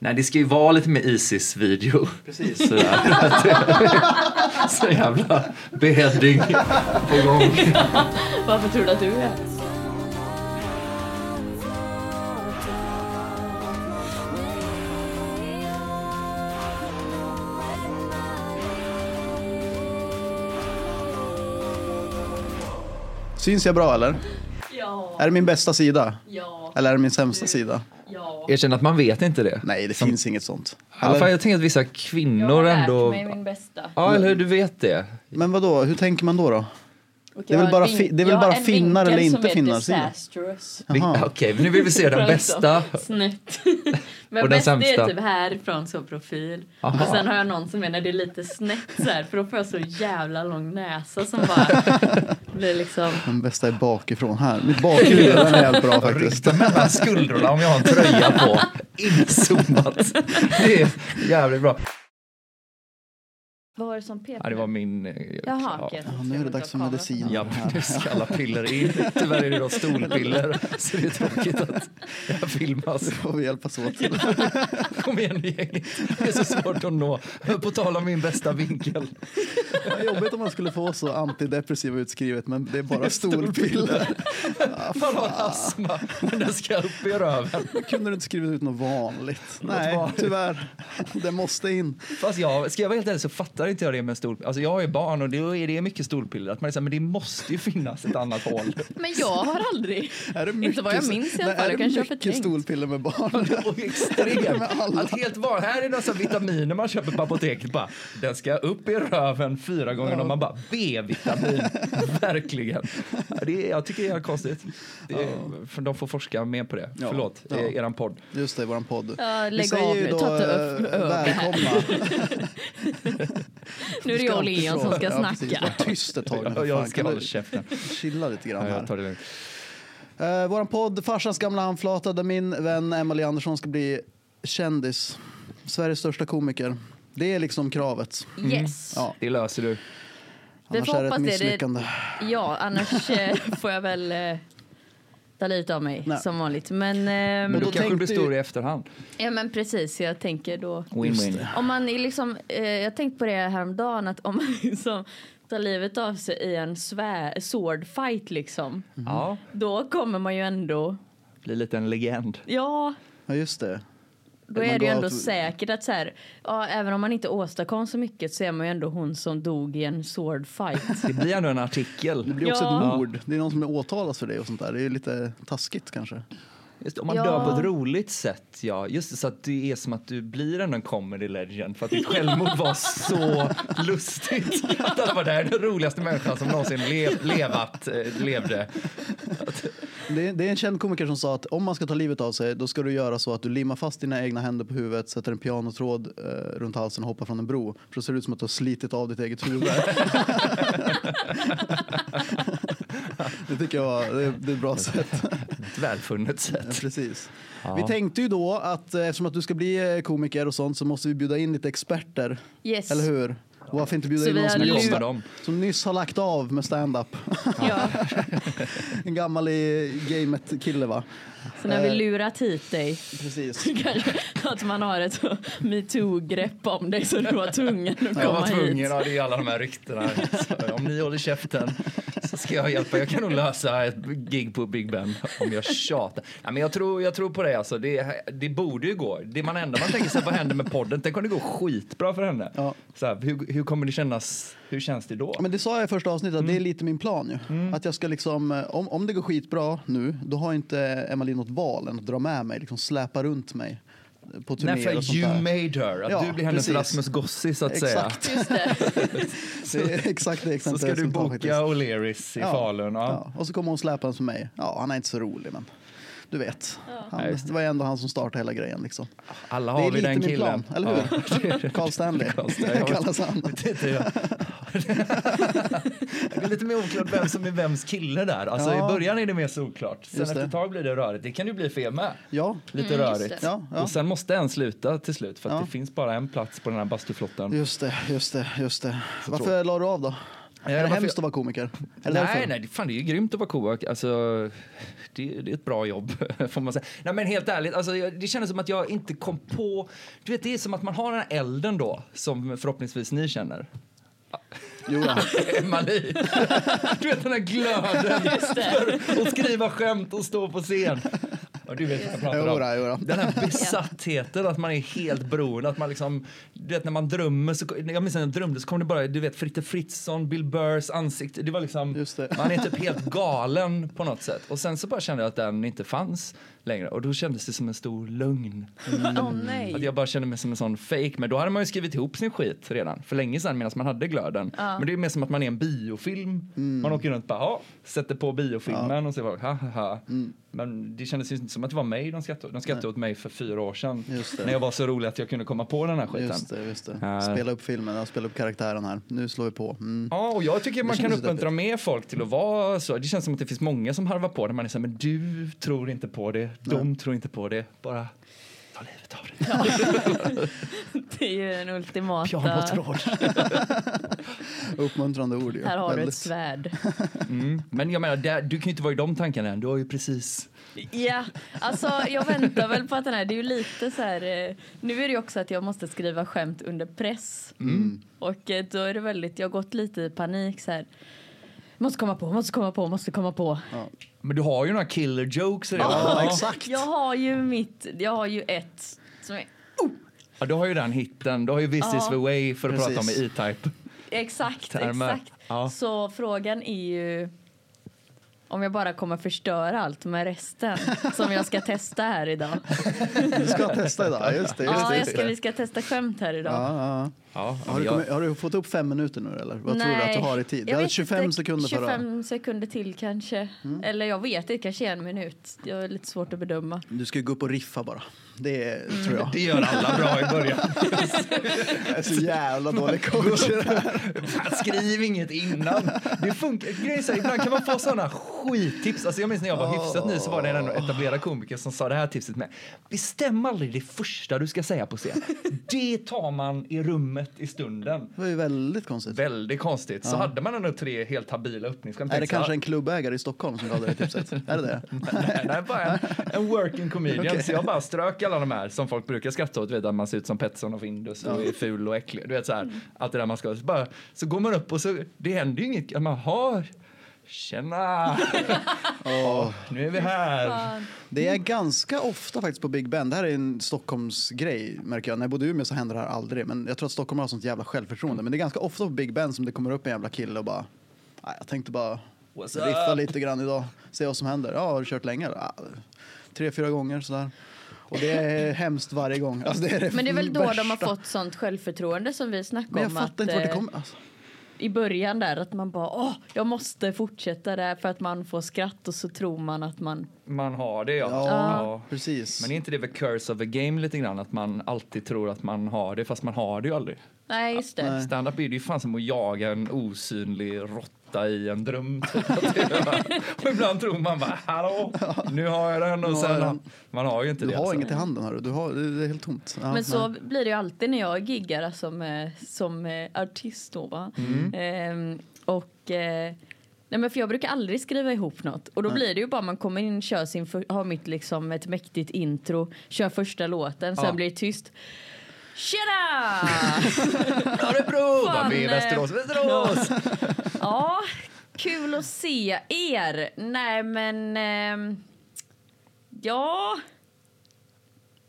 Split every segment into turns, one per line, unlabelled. Nej, det ska ju vara lite mer Isis-video.
Precis.
Sådär. Så jävla beheading på gång.
Varför tror du att du är?
Syns jag bra eller?
Ja,
Är det min bästa sida?
ja,
Eller är det min sämsta sida?
ja.
Erkänn att man vet inte det.
Nej, det
Som-
finns inget sånt.
Ja, fan,
Eller?
jag tänker att vissa
Jag har
kvinnor
lärt
ändå...
mig min bästa.
Ja, eller hur? Du vet det.
Men vad då? hur tänker man då? då?
Och
Det är
jag
väl
har
bara
en
fi-
vin-
det är väl
jag har
bara
en
finnar eller
vinkel
inte
som är
finnar sida?
disastrous. liksom
Vi-
Jaha.
Okej, men nu vill vi se den bästa.
Snett. Men
Och den
bäst är
sämsta.
typ härifrån så profil.
Aha.
Och sen har jag någon som är när det är lite snett så här för då får jag så jävla lång näsa som bara blir liksom
Den bästa är bakifrån här. Mitt bakhuvud den är helt bra faktiskt.
Ryckta mellan skuldrorna om jag har en tröja på. Inzoomat. Det är jävligt bra.
Vad var det som pep?
Ja, det var min... eh,
Jaha,
ja.
okej.
Ja, nu är det dags för medicin.
Ja, nu ska alla piller in. Tyvärr är det då stolpiller, så det är tråkigt att det här filmas.
Får vi hjälpas åt.
Kom igen nu gänget, det är så svårt att nå. På tal om min bästa vinkel.
Vad jobbigt om man skulle få så antidepressiva utskrivet men det är bara stolpiller.
Man har astma, men den ska upp i röven.
Kunde du inte skrivit ut något vanligt? Nej,
vanligt.
tyvärr. Det måste in.
Fast jag, ska jag vara helt ärlig så fattar inte jag det med stolpiller. Alltså jag är barn och då är det mycket stolpiller. Att man är så här, men det måste ju finnas ett annat hål.
Men jag har aldrig.
Är det
Inte vad jag minns i alla
Nej,
fall,
Är
jag
det
kanske har
mycket
förträngt.
stolpiller med barn?
Och extremt.
Med alla.
Att helt var, här är några sådana vitaminer man köper på apoteket. Bara, den ska upp i röven fyra gånger om. Man bara B-vitamin. Verkligen. Ja, Det är, jag tycker det är konstigt. Det är, för de får forska mer på det.
Ja.
Förlåt,
Ja.
det är eran podd.
Just det, våran podd.
Ja,
Vi
lägg
säger
av
ju
nu,
då,
ta inte
eh,
upp- upp det här.
Välkomna.
Nu är det jag och Leon som ska
Ja, precis.
snacka.
Var tyst ett tag nu, för
Jag, jag
fan.
ska
Kan
hålla
du
käften.
Chilla lite grann
Ja,
här.
jag tar det lugnt.
Eh, våran podd Farsans gamla handflata där min vän Emily Andersson ska bli kändis. Sveriges största komiker. Det är liksom kravet.
Yes.
Ja,
Det löser du.
Vi
annars
får
är det ett
hoppas det. Det-
misslyckande.
Ja, annars eh, får jag väl eh, ta livet av mig
Nej.
som vanligt. Men,
Men
ehm,
då
du kanske
tänkte
blir stor
ju-
i efterhand.
ja, men precis, jag tänker då.
Just
Win-win.
det.
Om man är liksom, eh, jag tänkte på det häromdagen att om man liksom tar livet av sig i en svär, sword fight liksom.
Mhm.
Ja,
Då kommer man ju ändå,
bli lite en legend.
ja
Ja, just det.
då
Man
är det ju
går
ändå
out-
säkert att så här, ja, även om man inte åstadkom så mycket så är man ju ändå hon som dog i en sword fight.
Det blir ändå en artikel.
Det blir också
Ja.
ett mord. Det är någon som är åtalas för det och sånt där. Det är ju lite taskigt kanske.
Just, om man
Ja.
dör på ett roligt sätt, ja. Just det, så att det är som att du blir ändå en comedy legend för att ditt självmord var så lustigt. Att alla var där, den roligaste människan som någonsin lev, levat, eh, levde.
Det är, det är en känd komiker som sa att om man ska ta livet av sig då ska du göra så att du limmar fast dina egna händer på huvudet, sätter en pianotråd eh, runt halsen och hoppar från en bro. För då ser det ut som att du har slitit av ditt eget huvud. det tycker jag var, det, det är ett bra sätt.
Ett välfunnet
Ja,
sätt.
Precis.
Ja.
Vi tänkte ju då att eh, eftersom att du ska bli eh, komiker och sånt så måste vi bjuda in lite experter.
Yes.
Eller hur? Varför inte bjuda
Så
in
vi
någon
har
som,
Nu
lurat-
just-
kommer de.
som nyss har lagt av med stand-up?
Ja.
En gammal i gamet-kille va?
Så när vi lurat hit dig
Precis.
kanske att man har ett så metoo-grepp om dig så du var tvungen att
Jag var
komma hit.
tvungen, ja, det är alla de här ryktena. Så Om ni håller käften så ska jag hjälpa. Jag kan nog lösa ett gig på Big Ben om jag tjatar. Ja, men jag, tror, jag tror på det alltså. Det, det borde ju gå. Det man enda man tänker sig, vad händer med podden? Tänk om det går skitbra för henne.
Ja.
Så här, hur, hur kommer det kännas? Hur känns det då?
Men det sa jag i första avsnittet, att det är
Mm.
lite min plan ju. Att jag ska liksom, eh, om, om det går skitbra nu, då har inte Emily något val än att dra med mig, liksom släpa runt mig eh, på
Nej,
turnéer och
för
sånt
you
där.
made her. Att
Ja,
du blir hennes
precis.
Rasmus Gossi så att säga.
Exakt.
Just det.
Det är exakt det
Så
exemplet
ska
jag
du
ta faktiskt.
boka O'Learys i
Ja.
Falun. Ja.
Ja, och så kommer hon släpa som mig. Ja, han är inte så rolig, men du vet. Han,
Ja, just
det var ju ändå han som startade hela grejen. Liksom.
Alla
Det
har
är
vi
lite
den
min
killen.
plan, eller hur?
Ja.
Carl Stanley
Carl Stanley.
kallas han.
Det är lite mer oklart vem som är vems kille där. Alltså
Ja.
I början är det mer solklart. Sen
Just
efter
det.
ett tag blir det rörigt. Det kan ju bli för er med.
Ja,
Lite
Mm, just
rörigt.
det.
Ja, ja.
Och sen måste en sluta till slut för att
Ja.
det finns bara en plats på den här bastuflotten.
just det, just det, just det. Varför la du av då? Är det
varför jag-
hemskt att vara komiker? Är det
Nej,
därför?
nej, fan det är ju grymt att vara kovack. Alltså, det, det är ett bra jobb, får man säga. Nej, men helt ärligt, alltså, jag, det kändes som att jag inte kom på... Du vet, det är som att man har den här elden då, som förhoppningsvis ni känner.
Jo, då.
Emily. Du vet den här glöden
Just det.
och skriva skämt och stå på scen. Ja, du vet vad jag pratar
Jo,
om.
då, jo, då.
Den här besattheten, att man är helt beroende. Att man liksom, du vet när man drömmer, så, jag minns när jag drömde så kom det bara, du vet Fritte Fritzson, Bill Burrs ansikte. Det var liksom,
Just det.
man är typ helt galen på något sätt. Och sen så bara kände jag att den inte fanns längre. Och då kändes det som en stor lögn.
Åh
Mm. Att
nej.
jag bara kände mig som en sån fake Men då hade man ju skrivit ihop sin skit redan för länge sedan medan man hade glöden. Men det är mer som att man är en biofilm.
Mm.
Man åker runt och bara, ja, sätter på biofilmen och så bara, ha ha ha.
Mm.
Men det kändes ju inte som att det var mig de skrattade åt. De skrattade åt mig för fyra år sedan.
Just det.
När jag var så rolig att jag kunde komma på den här skiten.
Just det, just det.
Ja.
Spela upp filmen, ja, spela upp karaktären här. Nu slår vi på. Mm.
Ja, och jag tycker man
Det
kan
känns
uppmuntra mer folk till att vara så. Det känns som att det finns många som harvar på det. Man är så här, men du tror inte på det. De tror inte på det. Bara ta livet av dig.
Det är ju den ultimata.
Pianotråd.
Uppmuntrande ord ju.
Här har du ett
Väldigt.
svärd.
Mm. Men jag menar, där, du kan ju inte vara i de tankarna än. Du har ju precis...
Ja, alltså jag väntar väl på att den här, det är ju lite så här, eh, nu är det ju också att jag måste skriva skämt under press.
Mm.
Och eh, då är det väldigt, jag har gått lite i panik så här. Måste komma på, måste komma på, måste komma på.
Men du har ju några killer jokes redan.
Ja, exakt.
Jag har ju mitt, jag har ju ett som är
Ja, du har ju den hitten. Du har ju This
Ja.
is the way för att
Precis.
prata om i E-Type.
Exakt,
termer.
exakt.
Ja.
Så frågan är ju om jag bara kommer förstöra allt med resten som jag ska testa här idag.
Du ska testa idag, just det. Just
ja,
det,
jag
just
ska,
det.
vi ska testa skämt här idag.
Ja, ja.
Ja,
Har, du kommit, har du fått upp fem minuter nu eller? Vad tror du att du har i tid?
jag
Du har
vet
25
inte,
sekunder för Mm.
25 sekunder till kanske. Eller jag vet inte, kanske en minut. Det är lite svårt att bedöma.
Du ska ju gå upp och riffa bara. Det är,
Mm.
tror jag.
Det gör alla bra i början.
Jag är så jävla dålig coach. i det här.
Fan, Skriv inget innan. Det funkar. Grejen är så här, ibland kan man få såna skittips. Alltså jag minns när jag var hyfsat ny så var det en ändå etablerad komiker som sa det här tipset med. Bestäm aldrig det första du ska säga på scen. Det tar man i rummet i stunden.
Det var ju väldigt konstigt.
Väldigt konstigt. Så hade man ändå tre helt habila öppningsskämt.
Är det
Tänkte så här,
kanske en klubbägare i Stockholm som gav dig det tipset? Är det det?
Nej, nej, bara en, en working comedian. Så jag bara strök alla de här som folk brukar skratta åt. Du vet, att man ser ut som Pettersson och Findus och är ful och äcklig. Du vet så här, allt det där man ska. Så, bara, så går man upp och så, det händer ju inget. Man har Tjena! Åh, nu är vi här.
Fan.
Det är ganska ofta faktiskt på Big Ben. Det här är en Stockholmsgrej märker jag. När jag bodde i Umeå så hände det här aldrig. Men jag tror att Stockholm har sånt jävla självförtroende. Men det är ganska ofta på Big Ben som det kommer upp en jävla kille och bara "Nej, jag tänkte bara
What's
riffa
up?"
lite grann idag. Se vad som händer. Ja, har du kört länge? Ja, tre, fyra gånger sådär. Och det är hemskt varje gång. Alltså, det är det
Men det är väl då
värsta.
de har fått sånt självförtroende som vi snackade
Men jag
om.
fattar
att,
inte vart det
eh,
kommer. Alltså,
i början där att man bara åh, jag måste fortsätta där för att man får skratt och så tror man att man
Man har det ja.
Ja.
Ja.
precis.
Men är inte det the curse of the game lite grann? Att man alltid tror att man har det fast man har det ju aldrig.
nej just det.
Nej.
Stand-up är det ju fan som att jaga en osynlig råtta i en dröm. typ. och ibland tror man bara, hallå, nu har jag den och
Nu har jag
sen,
den.
man har ju inte
Du
det.
har
alltså.
inget i handen hörru. Du har, det är helt tomt. Ja,
Men så
nej.
blir det ju alltid när jag giggar alltså, som, som eh, artist då va. Ehm, och eh, Nej, men för jag brukar aldrig skriva ihop något och då blir det ju bara man kommer in kör sin för- har mitt liksom ett mäktigt intro, kör första låten, sen
Ja.
blir det tyst. Tjena!
Örebro!
Fan,
Bara, Vi är i
eh,
Västerås, Västerås!
ja, kul att se er. Nej men ehm, ja.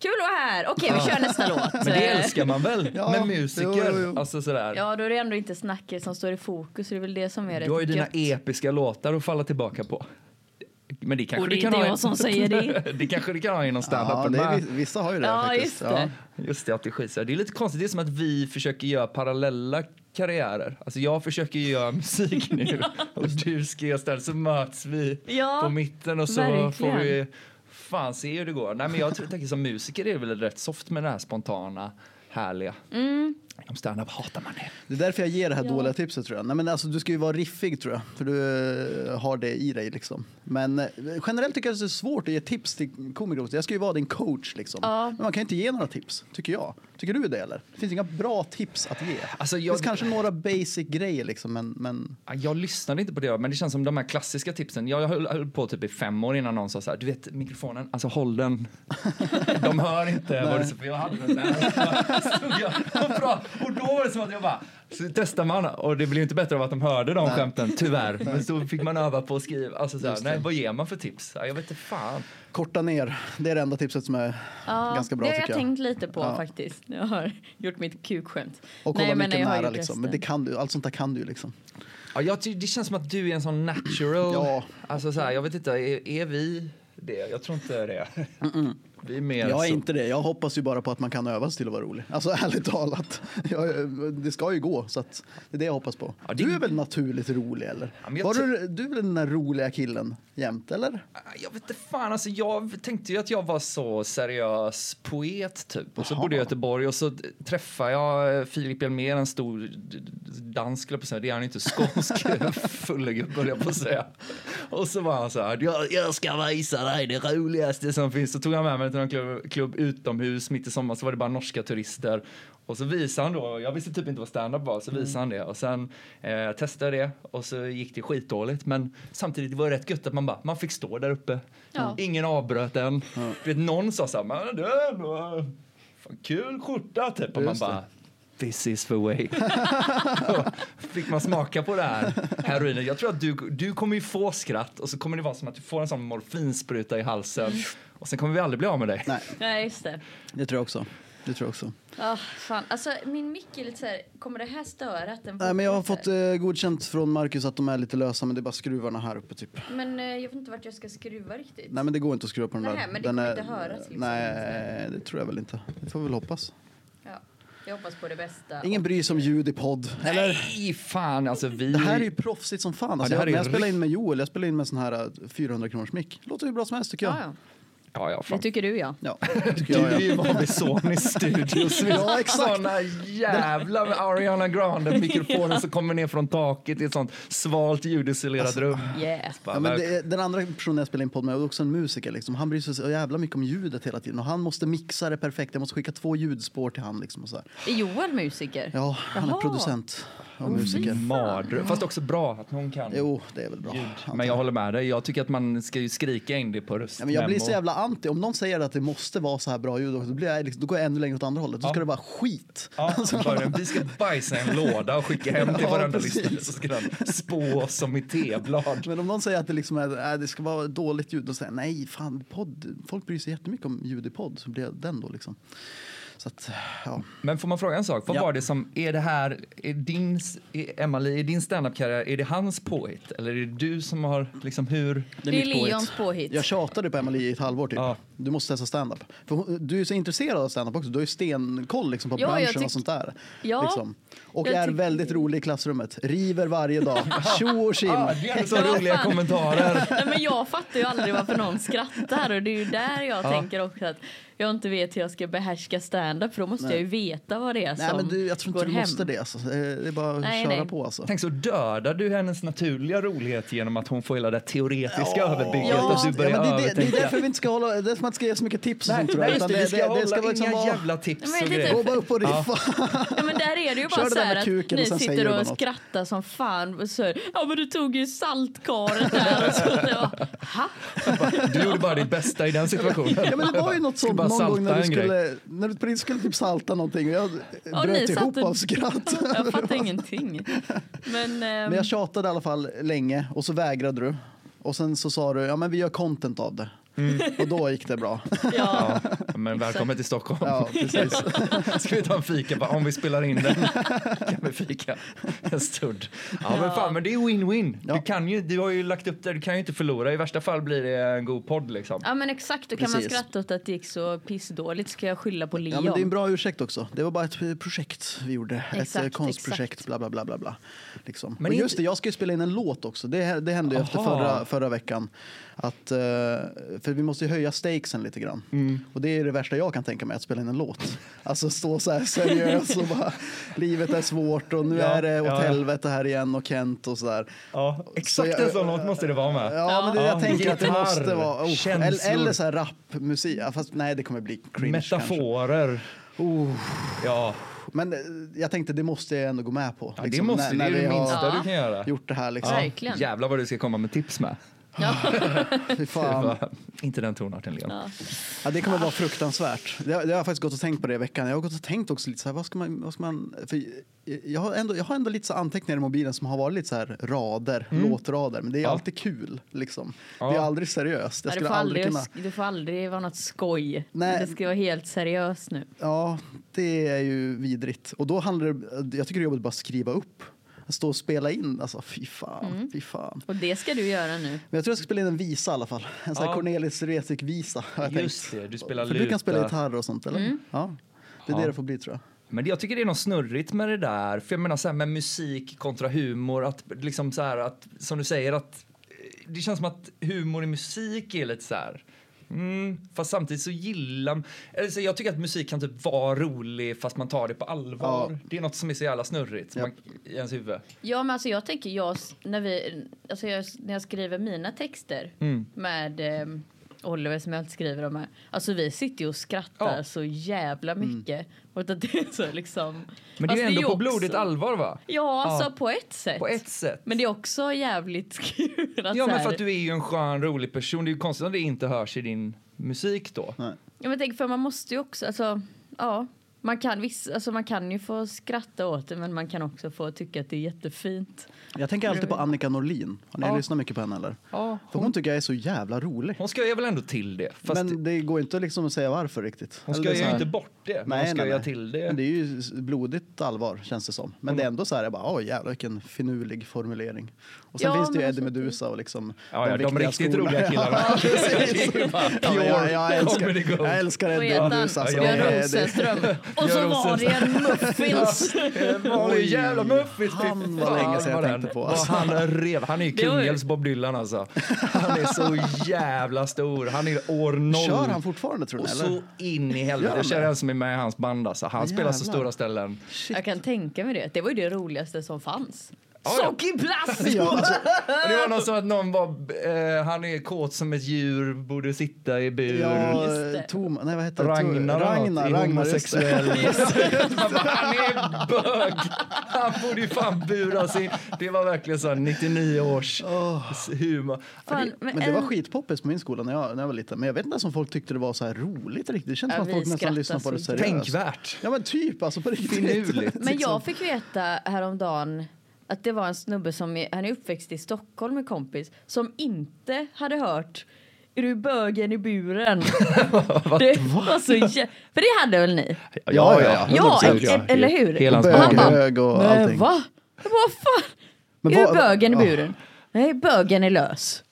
Kul att vara här. Okej, vi kör nästa låt.
Men det älskar man väl
Ja,
med musiker?
jo, jo, jo.
Alltså sådär.
Ja, då är det ändå inte snacket som står i fokus. Det är väl det som är
du har ju dina
gött.
episka låtar att falla tillbaka på. Men det kanske
Och det
du
är
kan
inte
ha
jag som säger det.
det kanske du kan ha inom
ja,
stand-upen
det är,
med.
vi- vissa har ju det
Ja,
faktiskt.
just det.
Just det, att det skiter sig. Det är lite konstigt. Det är som att vi försöker göra parallella karriärer. Alltså jag försöker ju göra musik nu och du ska göra stand så möts vi
Ja,
på mitten och så
verkligen.
får vi fan se hur det går. Nej men jag tror- tänker som musiker är det väl rätt soft med det här spontana, härliga. Mm. Om standup hatar man det.
Det är därför jag ger det här
Ja.
dåliga tipset tror jag. Nej, men alltså, du ska ju vara riffig tror jag, för du eh, har det i dig liksom. Men eh, generellt tycker jag att det är svårt att ge tips till komiker också. Jag ska ju vara din coach liksom.
Ja.
Men man kan inte ge några tips, tycker jag. Tycker du det eller? Det finns inga bra tips att ge.
Alltså,
Det finns
jag,
kanske några basic grejer liksom men, men
Ja, Jag lyssnade inte på det, men det känns som de här klassiska tipsen. Jag höll, höll på typ i fem år innan någon sa så här, du vet mikrofonen, alltså håll den. De hör inte vad du säger, för jag hade den där. Och så stod jag och pratade. Och då var det som att jag bara, så testade man och det blev ju inte bättre av att de hörde de skämten, tyvärr. Men så fick man öva på att skriva. Alltså så här,
Just det.
nej, vad ger man för tips? Ja, Jag vet inte fan.
korta ner. Det är det enda tipset som är
Ja,
ganska bra
det har jag,
tycker jag.
tänkt lite på
Ja.
faktiskt. när Jag har gjort mitt kukskämt.
Och kolla
men
mycket
jag har
nära
gjort
liksom. Men det
resten.
kan du, allt sånt där kan du ju liksom.
Ja, jag, ty- det känns som att du är en sån natural.
Ja.
Alltså så här, jag vet inte, är, är vi det? Jag tror inte det. Vi är mer
Jag är
så.
inte det. Jag hoppas ju bara på att man kan öva sig till att vara rolig. Alltså ärligt talat. Jag, det ska ju gå så att det är det jag hoppas på.
Ja, det-
Du är väl naturligt rolig eller?
Ja, men jag
Var
ty-
du, du är väl den där roliga killen jämt eller?
Jag vet inte fan, alltså jag tänkte ju att jag var så seriös poet typ. Och så
Jaha.
bodde jag i Göteborg och så träffade jag eh, Filip Hjelmér, en stor d- d- dansk höll jag på att säga. Det är han ju inte, skånsk fullegubbe höll jag på att säga. Och så var han så här, jag, jag ska visa dig det roligaste som finns. Så tog han med mig till någon klubb, klubb utomhus mitt i sommaren så var det bara norska turister. Och så visade han då, jag visste typ inte vad stand-up var, så visade han det. Och sen eh, testade jag det och så gick det skitdåligt. Men samtidigt var det rätt gött att man bara, man fick stå där uppe.
Ja.
Ingen avbröt en. Du vet, någon sa så här, man du, vad fan, kul skjorta typ. Och man
Just det.
bara, This is the way. Fick man smaka på det här heroinen. Jag tror att du, du kommer ju få skratt och så kommer det vara som att du får en sån morfinspruta i halsen och sen kommer vi aldrig bli av med dig.
Nej,
Nej, just det.
det tror jag också. Det tror jag också.
Ah, fan. Alltså, min mick är lite så här, kommer det här störa att den
Nej, men jag har fått
fortsätter?
eh, godkänt från Marcus att de är lite lösa men det är bara skruvarna här uppe typ.
Men eh, jag vet inte vart jag ska skruva riktigt.
Nej men det går inte att skruva på den
Nej,
där.
men det
den
kommer inte höras, liksom.
Nej, det tror jag väl inte. Det får vi väl hoppas.
Ja. Jag hoppas på det bästa.
Ingen bryr sig om ljud i podd.
Nej, fan alltså vi...
Det här är ju proffsigt som fan. Alltså,
det här
jag,
är
när jag
ju
spelar in med Joel, jag spelar in med sån här 400 kronors mick. Låter ju bra som helst tycker jag.
Ja, ja.
Ja, ja,
Det
fan.
tycker du ja.
Ja, det tycker
Du är
jag.
ju
ja.
van vid Sony Studios.
Ja, exakt.
Såna jävla Ariana Grande-mikrofoner som kommer ner från taket i ett sånt svalt ljudisolerat rum.
Yeah.
Bara,
Alltså, Ja, men det, den andra personen jag spelar in podd med är också en musiker. Liksom. Han bryr sig så jävla mycket om ljudet hela tiden. Och han måste mixa det perfekt. Jag måste skicka två ljudspår till han. Liksom, och så här.
Är Joel musiker?
Ja, han är
Jaha.
producent och
Oh,
musiker.
fy.
Mardröm. Fast också bra att hon kan.
Jo, det är väl bra.
ljud.
antar
Men jag håller med dig. Jag tycker att man ska ju skrika in det på röst.
Ja, men jag blir så
Memo.
jävla anti. Om någon säger att det måste vara så här bra ljud, då, blir jag, liksom, då går jag ännu längre åt andra hållet. Då
Ja.
ska det vara skit.
Ja, bara, vi ska bajsa i en låda och skicka hem till
Alltså, Ja,
varandra
precis.
lyssnare så ska den spå oss som i teblad.
Men om någon säger att det, liksom är, äh, det ska vara dåligt ljud, då säger jag nej, fan, podd, folk bryr sig jättemycket om ljud i podd. Så blir jag den då liksom. Så att, ja.
Men får man fråga en sak? Vad
Ja.
var det som, är det här, är din, är Emily, i din standup-karriär, är det hans påhitt? Eller är det du som har, liksom hur?
Det är Leons påhitt.
Jag tjatade på Emily i ett halvår typ.
Ja.
Du måste testa standup. För hon- du är ju så intresserad av standup också. Du har ju stenkoll liksom, på
Ja, jag
branschen
tyck-
och sånt där.
Ja,
liksom. Och
jag
är
tyck-
väldigt rolig i klassrummet. River varje dag. Tjo och tjim.
Ah, det är så
Ja,
roliga
fan.
kommentarer.
Nej, men jag fattar ju aldrig varför någon skrattar och det är ju där jag tänker också att jag inte vet hur jag ska behärska stand-up för då måste jag ju veta vad det är
Nej
som
men du, jag tror
går
inte du
hem.
måste det alltså. Eh, Det är bara att
Nej,
köra
nej.
på alltså.
Tänk så dödar du hennes naturliga rolighet genom att hon får hela det teoretiska överbygget
Ja.
och du börjar
men det, är det, det
övertänka.
är därför vi inte ska hålla, det är därför man inte ska ge så mycket tips och
Nej,
sånt tror
nej,
jag.
just
Utan
det, vi ska
det,
hålla
det ska liksom
inga
vara,
jävla tips.
Men
och
lite-
grejer.
gå bara upp och riffa.
Ja, men där är det ju
Kör
bara
det
så
där med
här att
kuken
ni
och sen säger
sitter
du
och
bara något.
skrattar som fan och så här, ja men du tog ju saltkaret där och så jag bara, ha? typ-
Du gjorde bara ditt bästa i den situationen.
Ja, men det var ju något
Skulle
sånt
bara
någon gång när
salta
du,
en grej.
skulle, när du på riktigt skulle typ salta någonting och jag
Och
bröt
ni
ihop
satt en-
av skratt.
Jag fattar ingenting. Men, ehm,
Men jag tjatade i alla fall länge och så vägrade du. Och sen så sa du, ja men vi gör content av det.
Mm.
Och då gick det bra.
ja.
Ja, men välkommen till Stockholm.
Ja, precis.
Ska vi ta en fika? Bara, om vi spelar in den kan vi fika en stund. Ja, men fan, men det är win-win.
Ja.
Du, kan ju, du har ju lagt upp det, du kan ju inte förlora. I värsta fall blir det en god podd liksom.
ja men exakt, då kan
Precis.
man skratta åt att det gick så pissdåligt ska jag skylla på
Ja,
Leon.
men det är en bra ursäkt också. Det var bara ett eh, projekt vi gjorde. ett
Exakt,
eh, konstprojekt,
exakt.
bla bla bla. bla, bla. Liksom.
Men
Men och
inte-
just det, jag ska ju spela in en låt också. Det, här- det hände ju efter
Aha.
förra, förra veckan. Att, eh, för vi måste ju höja stakesen lite grann.
Mm.
Och det är det värsta jag kan tänka mig, att spela in en låt. Alltså stå så här seriös och bara, livet är svårt och nu
Ja,
är det åt
ja, ja.
helvete här igen och Kent och sådär.
Ja,
Så
exakt
jag-
en sån låt måste det vara med.
Ja, men det är det jag
Ja,
tänker att det
gitarr,
måste vara. Oh, eller,
känslor.
eller så här rapmusik. Ja, Fast nej, det kommer bli cringe kanske.
Metaforer.
Oh.
Ja,
Men eh, jag tänkte det måste jag ändå gå med på.
ja det
liksom,
måste
när,
det
när
är
vi
det
har
minsta du kan göra.
gjort det här liksom.
Verkligen.
Jävlar vad du ska komma med tips med.
Fy fan.
Inte den tonarten, Leon.
Ja.
Ja, det kommer vara fruktansvärt. Det, har- det har jag faktiskt gått och tänkt på det i veckan. Jag har gått och tänkt också lite så här, vad ska man, vad ska man för jag har, ändå, jag har ändå lite så här anteckningar i mobilen som har varit lite så här rader, låtrader, men det är
Mm. Ja.
alltid kul liksom. Det är
Ja.
aldrig seriöst. Jag
Ja, du,
skulle
får
aldrig
aldrig,
kunna.
du får aldrig vara något skoj.
Nej.
Det ska vara helt seriöst nu.
Ja, det är ju vidrigt. Och då handlar det, jag tycker det är jobbigt bara att skriva upp. Att stå och spela in, alltså fy fan, fy fan.
Och det ska du göra nu.
Men jag tror jag ska spela in en visa i alla fall. En sån här
Ja.
Cornelis Vreeswijk-visa har jag
Just
tänkt.
det, du spelar
För du
luta.
kan spela gitarr och sånt eller? Ja. Det är
Ja.
det det får bli tror jag.
Men jag tycker det är något snurrigt med det där. För jag menar så här med musik kontra humor. Att liksom så här att, som du säger att eh, det känns som att humor i musik är lite så här. Mm, fast samtidigt så gillar eller så jag tycker att musik kan typ vara rolig fast man tar det på allvar.
Ja.
Det är något som är så jävla snurrigt
Japp.
man, i ens huvud.
Ja, men alltså jag tänker jag, när, vi, alltså jag, när jag skriver mina texter
Mm.
med eh, Oliver som jag alltid skriver om här. Alltså vi sitter ju och skrattar
Ja. Mm.
så jävla mycket. Och att det är så liksom.
Men det är
Fast
ju ändå på
också-
blodigt allvar va?
Ja, alltså
Ja.
på ett sätt.
På ett sätt.
Men det är också jävligt kul att
ja
så
men
här-
för att du är ju en skön rolig person. Det är ju konstigt om det inte hörs i din musik då.
Nej.
Ja, men tänk, för man måste ju också, alltså, ja. Man kan, viss, alltså man kan ju få skratta åt det men man kan också få tycka att det är jättefint.
Jag tänker alltid på Annika Norlin. Har ni
Ja.
lyssnat mycket på henne eller?
Ja,
För hon tycker jag är så jävla rolig.
hon ska ju väl ändå till det. Fast
Men det går inte liksom att säga varför riktigt.
Hon
Eller
ska
det är så
ju
här-
inte bort det, men hon ska göra till det.
Men det är ju s- blodigt allvar känns det som.
Mm.
Men det är ändå så här, jag bara, åh jävlar vilken finurlig formulering. Och sen
Ja,
finns det ju
men
Eddie
alltså-
Meduza och liksom
Ja, ja, de
viktiga
riktigt
skolorna.
roliga killarna.
Ja, precis. ja, men jag, jag,
comedy
älskar,
gold.
jag älskar
Och
Eddie
äta
Meduza. Alltså,
Ja,
det
Björn
är- det-
Rosenström. Och så var det en muffins.
Vanlig jävla muffins! fy
Han var
fan,
länge sedan jag
vad
tänkte
den-
på,
vad
alltså.
Han är rev. Han är ju
Det var ju-
Kungälvs Bob Dylan alltså. Han är så jävla stor. Han är år noll.
Kör han fortfarande tror
Och
ni?
så
Eller?
in i helvete.
Gör han
Jag känner
det?
en som är med i hans band alltså. Han spelar så
jävlar.
stora ställen.
Jag kan tänka mig det. Det var ju det roligaste som fanns.
Ja, ja.
Sockerplast!
Ja, alltså,
Och det var någon som att någon var, eh, han är kåt som ett djur, borde sitta i bur.
ja,
Just det.
Tom, nej vad heter det?
Ragnar,
Ragnar,
är
Ragnar just det.
homosexuell. Man bara, han är bög! Han borde ju fan buras in. Det var verkligen så här 99 års humor.
Fan,
Men det var
en-
skitpoppis på min skola när jag, när jag var liten. Men jag vet inte ens om folk tyckte det var så här roligt riktigt. Det känns
Ja,
som att
vi
folk nästan
skrattar
lyssnar på det
så
seriöst.
Tänkvärt.
Ja men typ alltså på riktigt.
Finurligt.
Men jag fick veta häromdagen att det var en snubbe som är, han är uppväxt i Stockholm med kompis som inte hade hört Är du bögen i buren? det var så jä- För det hade väl ni?
Ja, ja,
Ja, e- eller hur?
Hela hans
Och han
Bög,
band.
bara,
hög och
"Nej,
allting."
Va? Jag bara, Vad fan?
Men
är
vad-
du bögen i
vad-
buren? Nej, bögen är lös.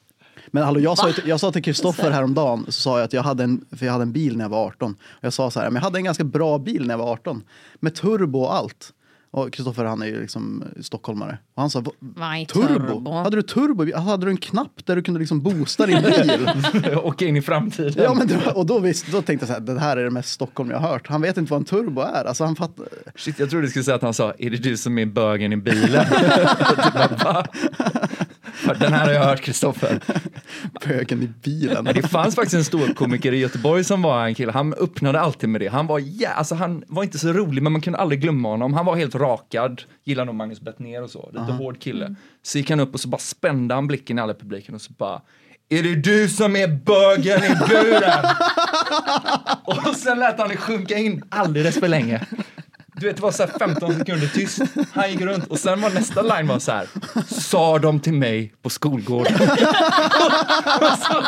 Men hallå, jag sa, ju- jag sa till Kristoffer häromdagen, så sa jag att jag hade, en, för jag hade en bil när jag var 18. Och jag sa så här, men jag hade en ganska bra bil när jag var 18. Med turbo och allt. Och Kristoffer han är ju liksom stockholmare. Och han sa, "Va-
Vad är turbo?"
turbo? Hade du turbo? Alltså, hade du en knapp där du kunde liksom boosta din bil?
Åka in i framtiden.
Ja, men det var, och då, visst, då tänkte jag så här, det här är det mest Stockholm jag har hört. Han vet inte vad en turbo är. Alltså, han fattar.
Shit, jag trodde du skulle säga att han sa, är det du som är bögen i bilen? Typ bara, "Va?" Den här har jag hört Kristoffer.
Bögen i bilen.
Det fanns faktiskt en ståuppkomiker i Göteborg som var en kille. Han öppnade alltid med det. Han var, ja, alltså, han var inte så rolig, men man kunde aldrig glömma honom. Han var helt rakad. Gillade nog Magnus Bettner och så. Lite hård kille. Så gick han upp och så bara spände han blicken i alla publiken och så bara är det du som är bögen i buren? och sen lät han det sjunka in alldeles för länge. Du vet, det var så här 15 sekunder tyst. Han gick runt och sen var nästa line var så här. Sa de till mig på skolgården. Och så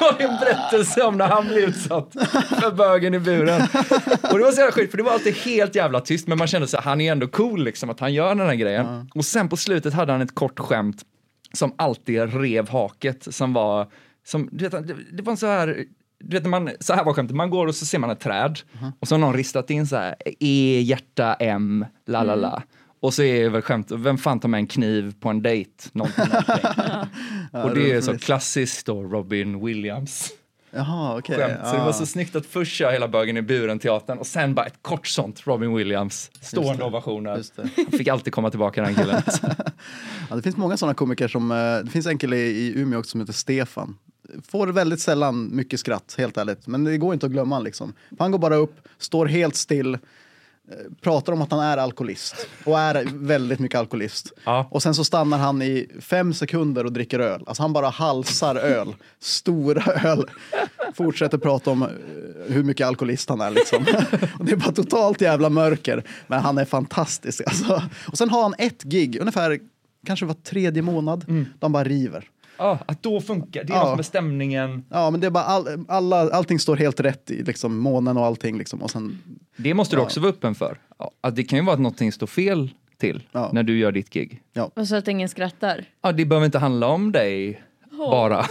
var det en berättelse om när han blev utsatt för bögen i buren. Och det var så jävla skit, för det var alltid helt jävla tyst, men man kände så här, han är ändå cool liksom, att han gör den här grejen. Och sen på slutet hade han ett kort skämt som alltid rev haket, som var, som, du vet, det, det var en så här, du vet när man, så här var skämtet, man går och så ser man ett träd och så har någon ristat in så här, E, hjärta, M, la la la. Och så är det väl skämt, vem fan tar med en kniv på en dejt? Någonting, någonting. Och det är så klassiskt då Robin Williams
Jaha, okej.
skämt. Så det var
Ah.
så snyggt att först köra hela bögen i buren-teatern och sen bara ett kort sånt Robin Williams.
Just
Stående
det.
ovationer.
Just det.
Han fick alltid komma tillbaka den killen.
Ja, det finns många sådana komiker som, eh, det finns en kille i i Umeå också som heter Stefan. får väldigt sällan mycket skratt, helt ärligt. Men det går inte att glömma liksom. Han går bara upp, står helt still, eh, pratar om att han är alkoholist och är väldigt mycket alkoholist.
Ja.
Och sen så stannar han i fem sekunder och dricker öl. Alltså han bara halsar öl, stora öl. Fortsätter prata om eh, hur mycket alkoholist han är liksom. Och det är bara totalt jävla mörker. Men han är fantastisk alltså. Och sen har han ett gig, ungefär kanske var tredje månad,
Mm.
då han bara river.
Ja, att då funkar. Det är
Ja.
något med stämningen.
Ja, men det är bara all, alla, allting står helt rätt i liksom, månen och allting. Liksom. Och sen,
Det måste du
Ja.
också vara öppen för. Ja, Att det kan ju vara att någonting står fel till
Ja.
när du gör ditt gig.
Och så att ingen skrattar.
Ja, det behöver inte handla om dig
Åh.
bara.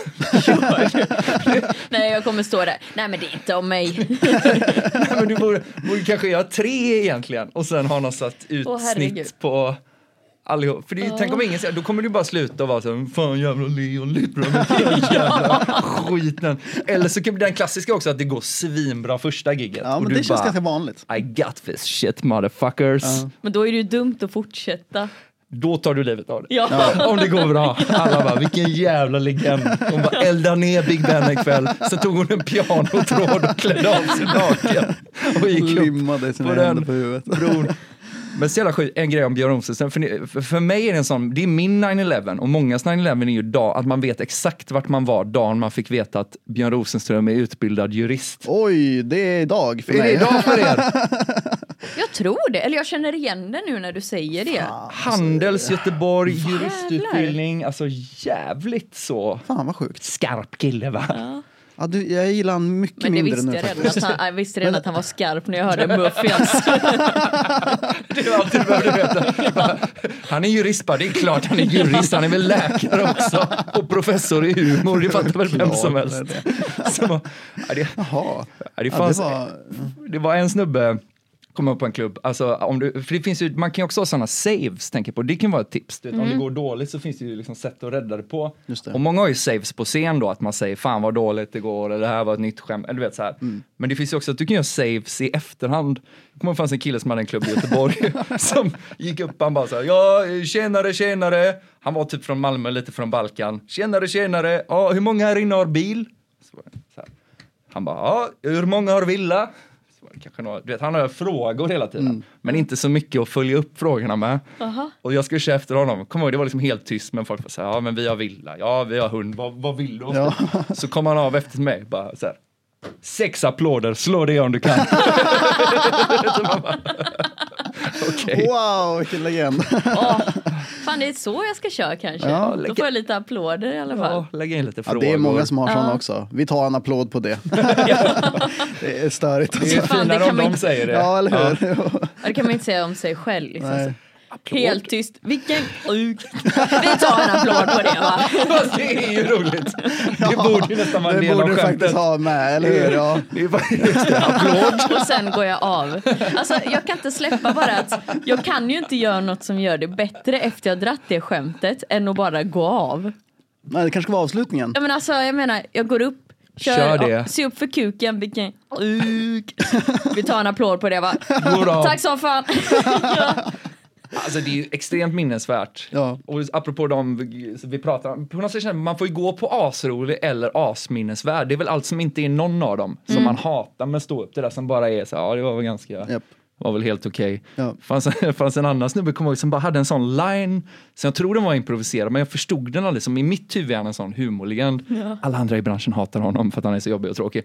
Nej, jag kommer stå där. Nej, men det är inte om mig.
Nej, men du borde, borde kanske göra tre egentligen och sen ha något satt
Åh,
utsnitt
herregud.
på allihop. För det, tänk om ingen ser- då kommer du bara sluta och vara så här, fan jävla Leon Lyttbra, jävla skiten. Eller så kan den klassiska också att det går svinbra första giget
ja,
och
men
du
det känns
bara,
ganska vanligt.
I got this shit motherfuckers.
Men då är det ju dumt att fortsätta.
Då tar du livet av det.
Ja.
Om det går bra. Alla bara, vilken jävla legend. Hon bara eldade ner Big Ben en kväll. Sen tog hon en pianotråd och klädde av sig naken. Och gick upp
Limmade sina
på den.
händer på huvudet.
bron. Men så jävla skit, en grej om Björn Rosenström. För, ni- för- för mig är det en sån, det är min 9-11 och mångas 9-11 är ju dag, att man vet exakt vart man var dagen man fick veta att Björn Rosenström är utbildad jurist.
Oj, det är idag för
Är det
mig.
idag för er?
Jag tror det. Eller jag känner igen det nu när du säger det.
Ah,
Handels, Göteborg, juristutbildning. Alltså jävligt så
Fan vad sjukt.
skarp kille va?
Ja, du, jag gillar han mycket
Men det
mindre
visste
nu
jag
faktiskt.
redan. Att han, jag visste redan att han var skarp när jag hörde Muffians.
Det var allt du behövde veta. Bara, Han är jurist bara, det är klart han är jurist. Han är väl läkare också. Och professor i humor, det fattar väl vem som helst. Så, ja, det,
Jaha.
ja, det,
Ja, det
fanns,
var...
det var en snubbe kom upp på en klubb, alltså, om du, för det finns ju, man kan ju också ha sådana saves, tänker jag på. det kan vara ett tips. Du vet, Om det går dåligt så finns det ju liksom sätt att rädda det på.
Mm. Just det.
Och många har ju saves på scen då, att man säger fan vad dåligt det går, eller det här var ett nytt skämt, eller du vet så här.
Mm.
Men det finns ju också att du kan göra saves i efterhand. Jag kommer ihåg det fanns en kille som hade en klubb i Göteborg som gick upp, han bara så här, ja tjenare tjenare, han var typ från Malmö, lite från Balkan, tjenare tjenare, ja hur många här inne har bil? Så var det så här. Han bara, ja, hur många har villa? Så var det Kanske några, du vet, han har frågor hela tiden,
Mm.
men inte så mycket att följa upp frågorna med.
Aha.
Och jag skulle köra efter honom. Kom ihåg, det var liksom helt tyst, men folk var så här, ja men vi har villa, ja vi har hund, vad, vad vill du?
Ja.
Så kom han av efter mig, bara så här, sex applåder, slå det om du kan. Så man bara, Okej.
Wow, vilken legend.
Åh, Fan, det är så jag ska köra kanske.
Ja,
Då
lägg-
får jag lite applåder i alla fall.
Ja, lägg in lite
Ja,
frågor.
det är många som har såna
Ja.
också. Vi tar en applåd på det. det är störigt.
Det är
Alltså.
Fan, det
finare
kan
om de
man inte-
säger det.
Ja, eller hur?
Ja, Det kan man inte säga om sig själv. Liksom.
Nej.
Helt tyst. Vilken sjuk. Vi tar en applåd på det va.
Fast det är ju roligt. Det borde ju nästan vara en
Det
del
borde
av
du
skämtet.
faktiskt ha med, eller hur? Ja.
Det är faktiskt en applåd.
Och sen går jag av. Alltså, jag kan inte släppa bara att jag kan ju inte göra något som gör det bättre efter jag dratt det skämtet än att bara gå av.
Nej, det kanske ska vara avslutningen.
Jag menar, alltså, jag, menar jag går upp, kör,
Kör det.
Ja, se upp för kuken, vilken kuk. Vi tar en applåd på det va.
Går av.
Tack så fan.
Alltså det är ju extremt minnesvärt.
Ja.
Och apropå de vi- vi pratar om, på något sätt känner man man får ju gå på asrolig eller asminnesvärd. Det är väl allt som inte är någon av dem som man hatar med stå upp. Det där som bara är så här, ja det var väl ganska,
Japp.
var väl helt okej.
Ja.
Fanns, fanns en annan snubbe, kommer jag ihåg, som bara hade en sån line, som jag tror den var improviserad, men jag förstod den aldrig. Som i mitt huvud är han en sån humorlegend. Alla andra i branschen hatar honom för att han är så jobbig och tråkig.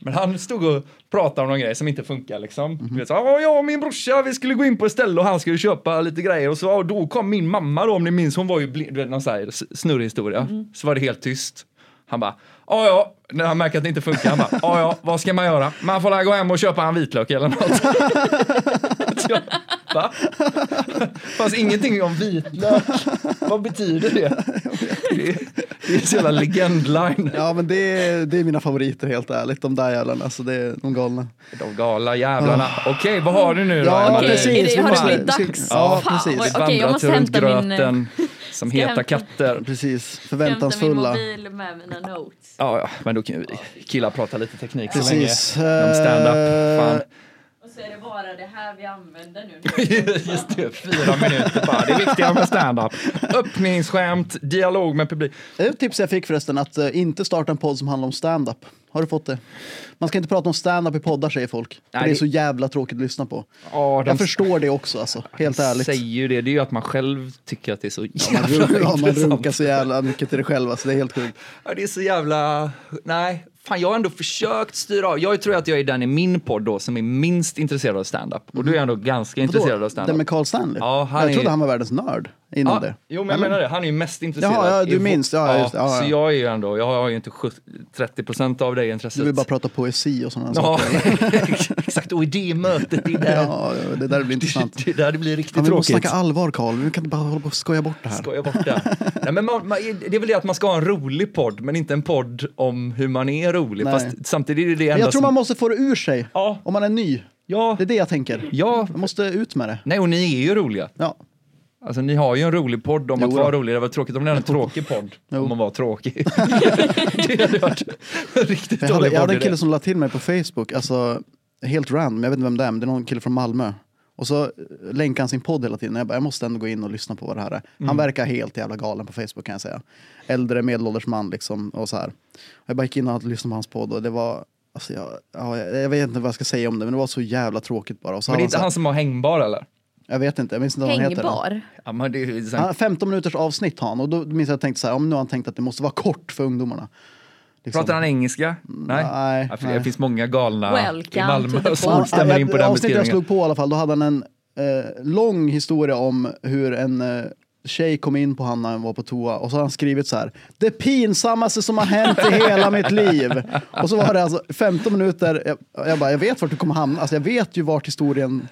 men han stod och pratade om någon grej som inte funkar liksom. Du vet, så, "Ja, jag och min brorsa, vi skulle gå in på ett ställe och han skulle köpa lite grejer och så, och då kom min mamma då, om ni minns, hon var ju blind, du vet, någon sån här s- snurrig historia. Så var det helt tyst. Han bara, ja ja, när han märker att det inte funkar, han bara, ja ja, vad ska man göra? Man får väl gå hem och köpa en vitlök eller något. Ja, Va? Fanns ingenting om vitlök. Vad betyder det? Det är, det är så jävla legendline.
Ja, men det är, det är mina favoriter helt ärligt. De där jävlarna, alltså det är de galna.
De gala jävlarna. Okej, vad har du nu då?
Ja,
Emily?
precis. vi
Ah. Är det, har det
måste-
blivit
vi ska-
dags?
ja,
Fan,
precis.
vad-
Vandrat
Okej, jag måste
runt
hämta min, eh,
gröten som
jag
heta
hämta-
katter.
Precis,
hämta min
förväntansfulla.
mobil med mina notes.
Ja, ja, men då kan ju vi killar prata lite teknik så länge.
Precis.
Om stand-up. Fan.
Eh,
Och så så är det bara det här vi använder nu.
Just det, fyra minuter bara. Det viktiga med stand-up. Öppningsskämt, dialog med publik.
Ett tips jag fick förresten, att eh, inte starta en podd som handlar om stand-up. Har du fått det? Man ska inte prata om stand-up i poddar säger folk. För
Nej,
det är
det-
så jävla tråkigt att lyssna på.
Ja, de
Jag förstår det också alltså, helt ärligt.
säger ju det. Det är ju att man själv tycker att det är så
Man,
jävla
run- ja, man
intressant.
runkar så jävla mycket till det själv alltså, det är helt sjukt.
Ja, det är så jävla... Nej, fan jag har ändå försökt styra av. Jag tror att jag är den i min podd då som är minst intresserad av stand-up. Och du är jag ändå ganska intresserad av stand-up.
Den med Carl Stanley?
Ja, han
jag
är-
trodde han var världens nörd innan
Ja,
det.
Jo, men jag menar det. Han är ju mest intresserad.
Jaha, ja, du
i vår-
minns. Ja, just det. Ja,
Så
ja.
jag är ju ändå, jag har ju inte 70 30 procent av det intresset.
Du vill bara prata poesi och sådana
Ja,
saker.
exakt. Och i det mötet, det är där,
Ja, ja, det där blir intressant.
det, är där det blir riktigt
Ja, men vi måste
tråkigt.
snacka allvar Carl, vi kan inte bara hålla på och skoja bort det här.
Skoja bort det. Nej, men man, man, det är väl det att man ska ha en rolig podd, men inte en podd om hur man är rolig.
Nej.
Fast samtidigt är det det enda
Men jag tror
som...
man måste få det ur sig
Ja.
om man är ny.
Ja,
Det är det jag tänker.
ja.
Man måste ut med det.
Nej, och ni är ju roliga.
Ja.
Alltså, ni har ju en rolig podd om
Jo
att
då.
vara rolig. Det var tråkigt om ni hade en tråkig podd om man var tråkig. det hade varit en riktigt
Jag hade,
dålig
jag hade
podd.
en
idé.
kille som la till mig på Facebook, alltså helt random, jag vet inte vem det är, men det är någon kille från Malmö. Och så eh, länkade han sin podd hela tiden. Jag, bara, jag måste ändå gå in och lyssna på vad det här är. Han
Mm.
verkar helt jävla galen på Facebook kan jag säga. Äldre medelålders man liksom och så här. Och jag bara gick in och lyssnade på hans podd och det var, alltså jag, ja, jag, jag vet inte vad jag ska säga om det, men det var så jävla tråkigt bara. Och så
Men det är
hade han
inte
så här,
han som har hängbar eller?
Jag vet inte, jag minns inte vad han heter.
Hängbar.
Ja, men det är ju sen-
Ja, 15 minuters avsnitt har han och då minns jag att jag tänkte så här, om nu har han tänkt att det måste vara kort för ungdomarna. Liksom.
Pratar han engelska? Nej.
nej,
ja, för
nej.
Det finns många galna
Welcome
i
to the
Malmö som
pod.
stämmer in på
Ja,
den
avsnittet jag
beskrivningen.
slog på i alla fall, då hade han en eh, lång historia om hur en eh, tjej kom in på han när han var på toa och så har han skrivit så här. Det pinsammaste som har hänt i hela mitt liv. Och så var det alltså 15 minuter. Jag, jag bara, jag vet vart du kommer hamna. Alltså jag vet ju vart historien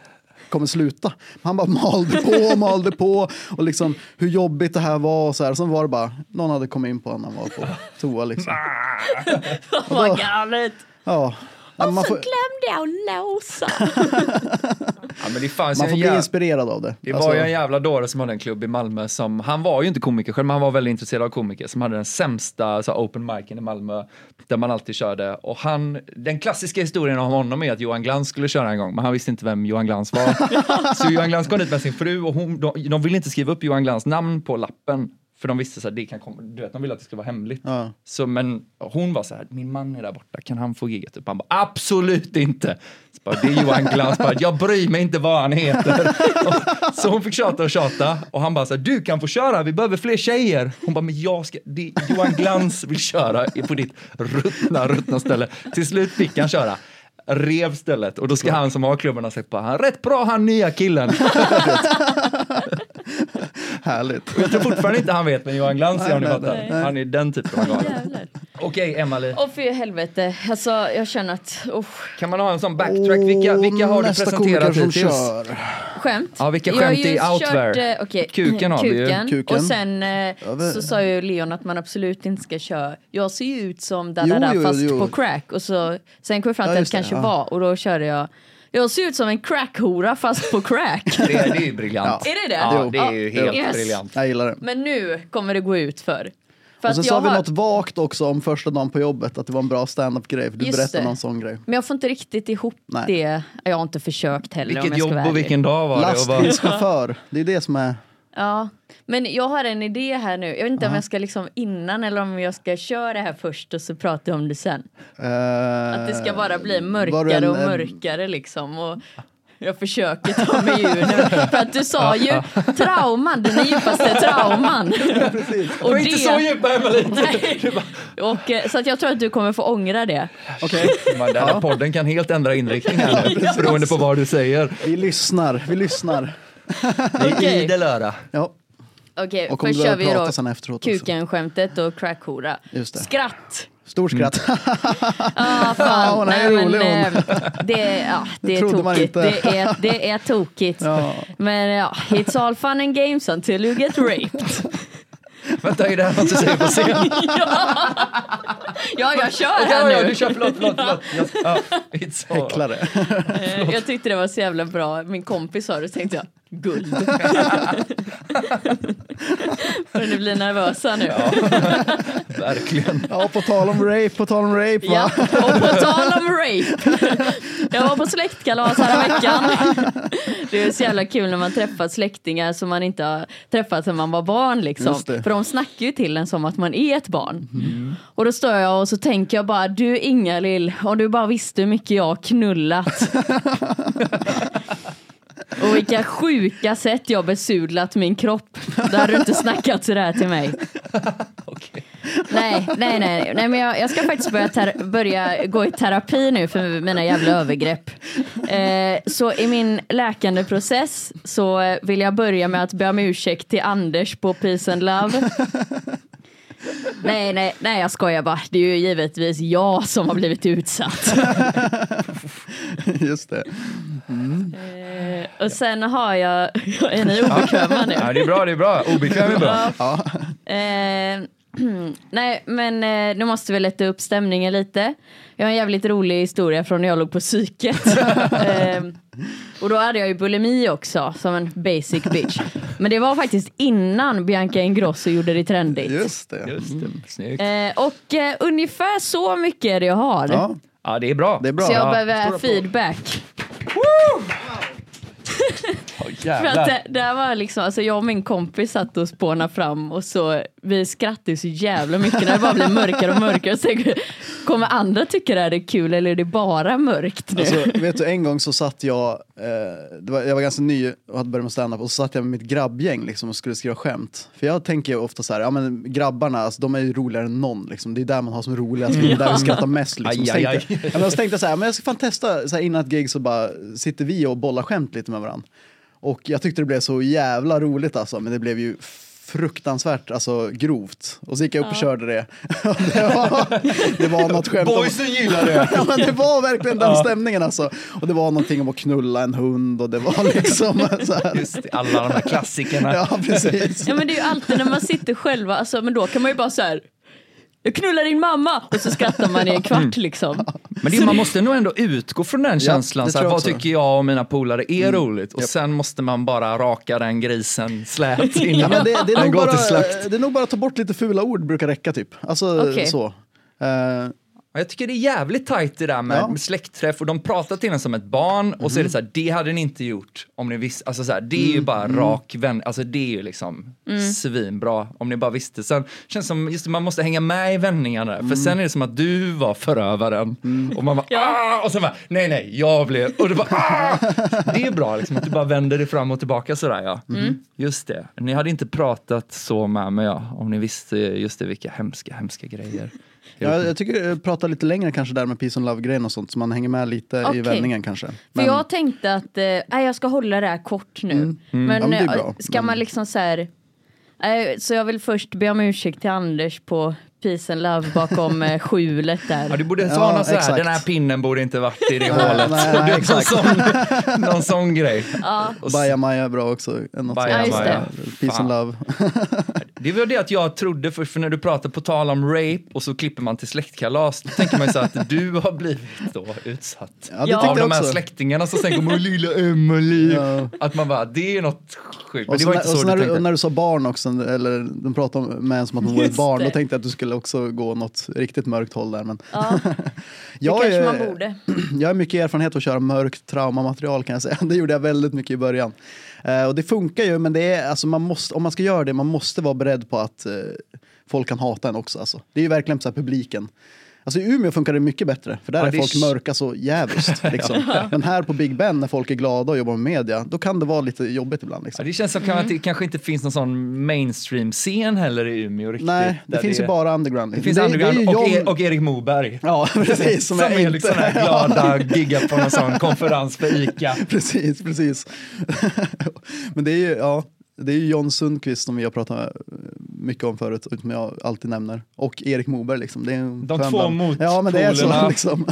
kommer sluta. Men Han bara malde på och malde på och liksom hur jobbigt det här var och så här. Sen var det bara någon hade kommit in på honom när han var på toa liksom.
Vad galet.
Ja.
Alltså,
Men Man
Och så
får,
klämde jag låsa.
Ja, men det fanns
man
ju en
får bli
jävla...
inspirerad av det.
Alltså, Det var
Alltså-
ju en jävla dåre som hade en klubb i Malmö som, han var ju inte komiker själv, men han var väldigt intresserad av komiker, som hade den sämsta så, här, open micen i Malmö, där man alltid körde. Och han, den klassiska historien om honom är att Johan Glans skulle köra en gång, men han visste inte vem Johan Glans var. så Johan Glans kom dit med sin fru och hon, de, de ville inte skriva upp Johan Glans namn på lappen, för de visste så här, det kan komma, du vet, de ville att det skulle vara hemligt.
Ja.
Så, men hon var så här, min man är där borta, kan han få giget upp? Han bara, absolut inte! Så bara, det är Johan Glans, bara, jag bryr mig inte vad han heter. Och, så hon fick tjata och tjata och han bara, så här, du kan få köra, vi behöver fler tjejer. Hon bara, men jag ska, det, Johan Glans vill köra i- på ditt ruttna, ruttna ställe. Till slut fick han köra. Rev stället och då ska han som har klubben ha sagt på han rätt bra han nya killen.
Härligt.
Jag tror fortfarande inte han vet men Johan Glans är om ni
Nej,
fattar.
nej,
nej.
Han är den typen av galen.
Jävlar.
Okej Emily.
Åh för helvete. Alltså jag känner att, usch.
Kan man ha en sån backtrack? Vilka, vilka har du
Oh, Nästa
presenterat
komiker som
hittills?
kör.
Skämt?
Ja, vilka
Jag har
skämt
ju
är out
kört,
there?
eh, okej,
Kuken har vi ju.
kuken.
Kuken.
Och sen eh,
men-
så sa ju Leon att man absolut inte ska köra. Jag ser ju ut som da,
Jo,
da, da
jo,
fast
jo.
på crack. Och så, sen kom jag fram
Ja,
till att
just
det
det,
kanske
ja.
var och då körde jag. Jag ser ut som en crackhora fast på crack.
Det, är- det är ju briljant.
Är det det?
Ja, det är ju
Ja.
helt
Yes.
briljant.
Jag gillar det.
Men nu kommer det gå ut för. för
Och sen
att
sa
jag
vi
har-
något vagt också om första dagen på jobbet, att det var en bra standup-grej. För du
Just
berättade
det.
någon sån grej.
Men jag får inte riktigt ihop
Nej.
det. Jag har inte försökt heller om
Vilket
jag
jobb
ska vara
och
ärlig.
vilken dag var det? Och bara,
Lastbilschaufför, det är det som är...
Ja, men jag har en idé här nu. Jag vet inte om jag ska liksom innan eller om jag ska köra det här först och så prata om det sen.
eh,
Att det ska bara bli
var du en- eh,
mörkare och
en-
mörkare liksom. Och jag försöker ta mig ur nu. För att du sa ju trauman, dina djupaste trauman.
Precis.
det
Och
var inte så
det,
djupa Emelie!
och, eh, så att jag tror att du kommer få ångra det.
Okej,
Men Den här podden kan helt ändra inriktning här nu, beroende på vad du säger.
vi lyssnar, vi lyssnar.
Det är
Okej.
idel öra.
Ja.
Okej,
Och om
först
du börjar
kör vi
prata
då
sen efteråt också.
kuken-skämtet och crackhora.
Just det.
Skratt!
Stor
Mm.
skratt.
Ja,
Ja,
fan.
hon är
Nej, men,
rolig, hon.
eh, det, ja, det är
trodde man
tokigt.
inte.
Det är, det är tokigt.
Ja.
Men ja, it's all fun and games until you get raped.
Vänta, är det här något du säger på scen?
Ja, jag kör
Ja,
här
ja, du
nu.
kör. Förlåt, förlåt, förlåt. Jag, ja, it's all-
Häcklare.
Eh, Jag tyckte det var så jävla bra. Min kompis sa det, så tänkte jag. Guld. Men ni blir nervösa nu. Ja.
Verkligen.
Ja, på tal om rape, på tal om rape va?
Och på tal om rape. Jag var på släktkalas förra veckan. Det är så jävla kul när man träffar släktingar som man inte har träffat sedan man var barn. Liksom.
Just det. Mm.
För de snackar ju till en som att man är ett barn. Och då står jag och så tänker jag bara, du Ingalill, om du bara visste hur mycket jag har knullat. Och vilka sjuka sätt jag besudlat min kropp. Då hade du inte snackat sådär till mig.
Okej.
Nej, nej, nej. nej men jag, jag ska faktiskt börja, ter- börja gå i terapi nu för mina jävla övergrepp. Eh, så i min läkande process så eh, vill jag börja med att be om ursäkt till Anders på Peace and Love. Nej, nej, nej, jag skojar bara. Det är ju givetvis jag som har blivit utsatt.
Just det.
Eh, och sen har jag... Är ni obekväma nu?
Ja, det är bra, det är bra. Obekväm är bra.
Ja. Eh, nej, men eh, nu måste vi lätta upp stämningen lite. Jag har en jävligt rolig historia från när jag låg på psyket. eh, och då hade jag ju bulimi också, som en basic bitch. Men det var faktiskt innan Bianca Ingrosso gjorde det trendigt.
Just det.
Just det. Snyggt.
Eh, och eh, ungefär så mycket är det jag har.
Ja,
Ja, det är bra.
det är bra.
Så jag
Ja.
behöver feedback.
Åh,
För att
jävlar.
det, det här var liksom, alltså jag och min kompis satt och spånade fram och så vi skrattade så jävla mycket när det bara blev mörkare och mörkare. Så jag- kommer andra tycka det här är kul eller är det bara mörkt nu?
Alltså, vet du, en gång så satt jag, eh, det var, jag var ganska ny och hade börjat med stand-up och så satt jag med mitt grabbgäng liksom, och skulle skriva skämt. För jag tänker ju ofta så här, ja men grabbarna, alltså, de är ju roligare än någon liksom. Det är där man har som roligast, det är där vi skrattar mest liksom.
Aj,
Så
aj,
tänkte,
aj.
Ja, men så tänkte jag så här, men jag ska fan testa så här, innan ett gig så bara sitter vi och bollar skämt lite med varandra. Och jag tyckte det blev så jävla roligt alltså, men det blev ju fruktansvärt alltså grovt. Och så gick jag upp och körde det. det, var, det var något skämt om-
Boysen gillar det.
ja, men det var verkligen den stämningen alltså. Och det var någonting om att knulla en hund och det var liksom så här.
Just det, alla de här klassikerna.
Ja, precis.
Ja men det är ju alltid när man sitter själva, alltså, men då kan man ju bara så här. Jag knullar din mamma och så skrattar man i en
Mm.
kvart liksom.
Men det, man måste nog ändå utgå från den känslan.
det
Så här,
tror jag
vad
också. Mm.
tycker jag och mina polare är roligt? Och sen måste man bara raka den grisen slät innan
Men det, det, är
den
nog
går
bara,
till slakt.
det är nog bara att ta bort lite fula ord brukar räcka typ. Alltså
Okej.
så. Eh,
Ja, Jag tycker det är jävligt tajt det där med
Ja.
släktträff och de pratar till en som ett barn och så är det så här, det hade ni inte gjort om ni visste. Alltså så här, det är ju bara rak vän, alltså det är ju liksom svinbra om ni bara visste. Sen känns det som, just det, man måste hänga med i vändningarna där. för sen är det som att du var förövaren och man bara, ah! och sen bara, nej nej, jag blev, och du bara, ah! Det är bra liksom att du bara vänder dig fram och tillbaka sådär ja. Just det, ni hade inte pratat så med mig ja, om ni visste, just det, vilka hemska, hemska grejer.
jag, jag tycker eh, prata lite längre kanske där med peace and love-grejen och sånt så man hänger med lite i
Okej.
vändningen kanske.
För jag tänkte att eh, nej, jag ska hålla det här kort nu. Men,
Mm. Ja, men det är
eh,
bra.
ska man liksom så här. nej, så jag vill först be om ursäkt till Anders på Peace and Love bakom eh, skjulet där.
Ja, du borde
Ja,
ta någon så här,
exakt.
den här pinnen borde inte varit i det
Nej,
hålet.
nej,
Och du-
nej, exakt.
Någon, sån, någon sån grej. Och s-
Bajamaja är bra också. eh, något
Baja
sånt.
Maja. Ja,
Peace
Fan.
and love.
Det var det att jag trodde, för, för när du pratar på tal om rape och så klipper man till släktkalas, då tänker man ju så här att du har blivit då utsatt.
Ja, det
Ja.
tyckte
Av
jag
de här
också.
släktingarna som sen kommer och lilla Emily.
Ja.
Att man bara, det är något sjukt. Men
Och
det
så,
var
när,
inte
och
så
så
du
när, du,
tänkte.
när du sa barn också, eller de pratade om- med en som att hon var ett
Just
barn,
det.
då tänkte jag att du skulle också gå något riktigt mörkt håll där. Men
Ja, det
jag,
kanske
är- Mm.
man borde.
jag har mycket erfarenhet av att köra mörkt traumamaterial kan jag säga. Det gjorde jag väldigt mycket i början. Eh, och det funkar ju, men det är, alltså, man måste, om man ska göra det, man måste vara beredd på att eh, folk kan hata en också. Alltså. Det är ju verkligen så här, publiken. Alltså i Umeå funkar det mycket bättre, för där
Ja,
är
det är
folk
s-
mörka så jävligt. Liksom. Men här på Big Ben, när folk är glada och jobbar med media, då kan det vara lite jobbigt ibland. Liksom.
Ja, det känns som att det kanske inte finns någon sån mainstream-scen heller i Umeå riktigt.
Nej, det
där
finns ju bara underground.
Det finns
är-
underground
är ju
och,
jag-
e- och Erik Moberg.
Ja, precis. Som,
Som
jag
är
inte...
liksom här glada, giggar på någon sån konferens för ICA.
Precis, precis. Men det är ju, ja, det är ju John Sundqvist som vi har pratat eh, mycket om förut, och som jag alltid nämner. Och Erik Moberg liksom. Det är en
De
skön
två
bland-
motpolerna.
Ja, men det är så liksom.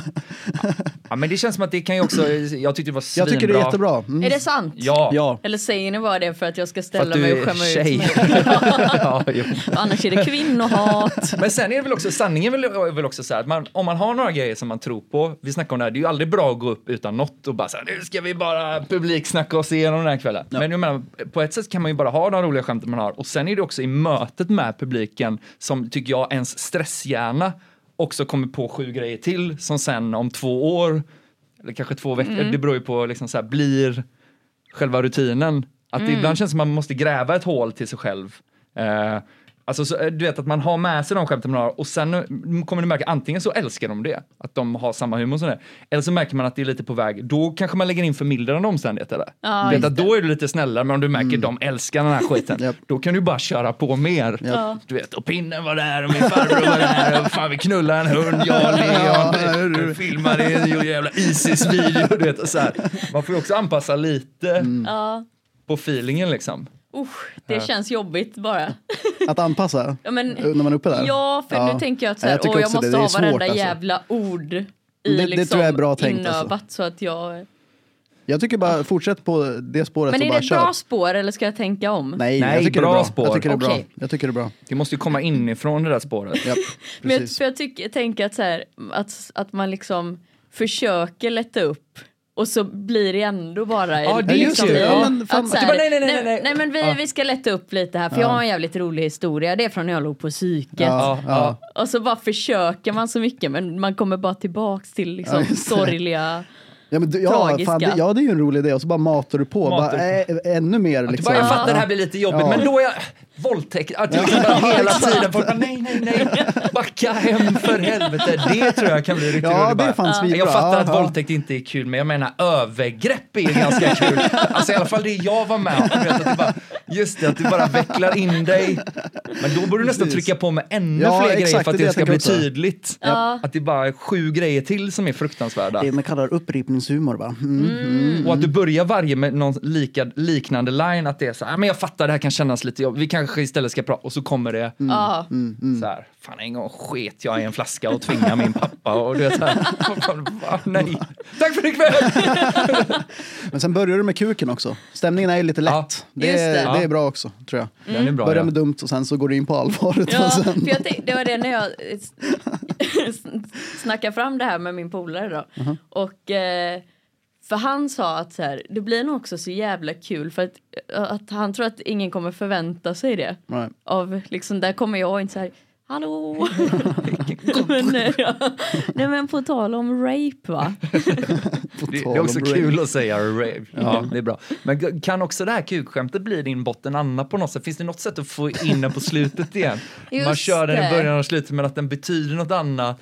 Ja, men det känns som att det kan ju också, jag tyckte det var svinbra.
Jag tycker det är jättebra.
Är
Mm.
det sant?
Ja.
Ja.
Eller säger ni bara det för att jag ska
För att
ställa
du
mig och
är
skämma
tjej.
ut mig?
ja, jo.
Annars är det kvinnohat.
Men sen är det väl också, sanningen är väl, är väl också så här att man, om man har några grejer som man tror på, vi snackar om det här, det är ju aldrig bra att gå upp utan något och bara så här, nu ska vi bara publiksnacka oss igenom den här kvällen. Men jag menar, på ett sätt kan man ju bara ha de roliga skämten man har och sen är det också i mötet med publiken som tycker jag ens stresshjärna också kommer på sju grejer till som sen om två år, eller kanske två veckor, det beror ju på liksom så här, blir själva rutinen. Att
Mm.
det ibland känns som att man måste gräva ett hål till sig själv. Eh, alltså, så, eh, du vet att man har med sig de skämten man har och sen eh, kommer du märka antingen så älskar de det, att de har samma humor som det. Eller så märker man att det är lite på väg, då kanske man lägger in förmildrande omständigheter där.
Ja,
du vet
just
att då är du lite snällare, men om du märker de älskar den här skiten,
Japp.
då kan du bara köra på mer.
Ja.
Du vet, och pinnen var där och min farbror var där och fan vi knullade en hund, jag och Leon eh, filmade en jävla Isis-video. Du vet, och så här. Man får ju också anpassa lite
Mm. Ja.
på feelingen liksom.
Usch, det känns jobbigt bara.
Att anpassa
Ja, men,
eh, när man är uppe där?
ja för
Ja.
nu tänker jag att så
Ja,
här,
jag
jag,
tycker
åh, jag
också det.
måste
Det är
ha
svårt,
varenda
alltså.
jävla ord i
det tror
liksom,
jag är bra tänkt, alltså.
inövat så att jag...
Jag tycker bara fortsätt på det spåret
Men
och
är
bara
det ett
kör.
bra spår eller ska jag tänka om?
Nej,
Nej,
jag tycker
bra
det är bra.
spår.
Jag tycker det är bra.
Okej.
Jag tycker det är bra.
Det måste ju komma inifrån det där spåret.
Japp,
Men jag,
precis.
för jag tycker, tänker att, så här, att, att man liksom försöker lätta upp och så blir det ändå bara...
Ja, det är ju
liksom,
kul.
i-
Ja,
men fan-
att så
Du
här,
bara, nej, nej, nej, nej.
nej, men vi, vi ska lätta upp lite här för jag har en jävligt rolig historia. Det är från när jag låg på psyket.
Ja, ja.
Och så bara försöker man så mycket men man kommer bara tillbaks till
Ja,
liksom
just det.
sorgliga...
Ja, men, du- ja,
Tragiska.
fan, det, ja, det är ju en rolig idé och så bara matar du på.
Matar
bara,
du
Äh, ännu mer
Du
liksom.
bara, jag fattar det här
Ja.
blir lite jobbigt,
Ja.
men då är jag våldtäkt. Att du liksom bara hela tiden folk bara, nej, nej, nej, backa hem för helvete. Det tror jag kan bli riktigt
Ja,
roligt.
det är
Bara,
fan svinbra.
Jag fattar att
Ja, ja.
våldtäkt inte är kul, men jag menar övergrepp är ganska kul. Alltså i alla fall det jag var med om. Du vet, att du bara, just det, att du bara vecklar in dig. Men då borde du nästan
Precis.
trycka på med ännu
Ja,
fler
exakt,
grejer för att
det är
det
det
ska
jag
bli
tänker också.
tydligt.
Ja.
Att det är bara sju grejer till som är fruktansvärda.
Det man kallar upprepningshumor va? Mm.
Och att du börjar varje med någon lika, liknande line, att det är så här, "Ah, men jag fattar det här kan kännas lite jobbigt, vi kanske istället ska prata, och så kommer det
Mm,
Ja.
så här, fan en gång sket jag i en flaska och tvingade min pappa och du vet så här, "Ah, nej, tack för
Mm.
ikväll!
Men sen börjar du med kuken också. Stämningen är ju lite lätt.
Ja,
det,
just det.
är, det
Ja.
är bra också tror jag.
Den är bra,
Börja
ja.
med dumt och sen så går du in på allvaret.
Ja,
och sen...
för jag tänkte, det var det när jag eh, s- snackade fram det här med min polare då.
Uh-huh.
Och eh, för han sa att så här, det blir nog också så jävla kul för att, eh, att han tror att ingen kommer förvänta sig det.
Nej.
Av liksom, där kommer jag inte så här, hallå! men, eh, ja. Nej men på tal om rape va?
På
Det, det
tal
är
om
också
rape.
kul att säga rave. Ja, det är bra. Men g- kan också det här kukskämtet bli din botten Anna på något sätt? Finns det något sätt att få in den på slutet igen? Man
Just
kör den i
det.
början och slutet men att den betyder något annat.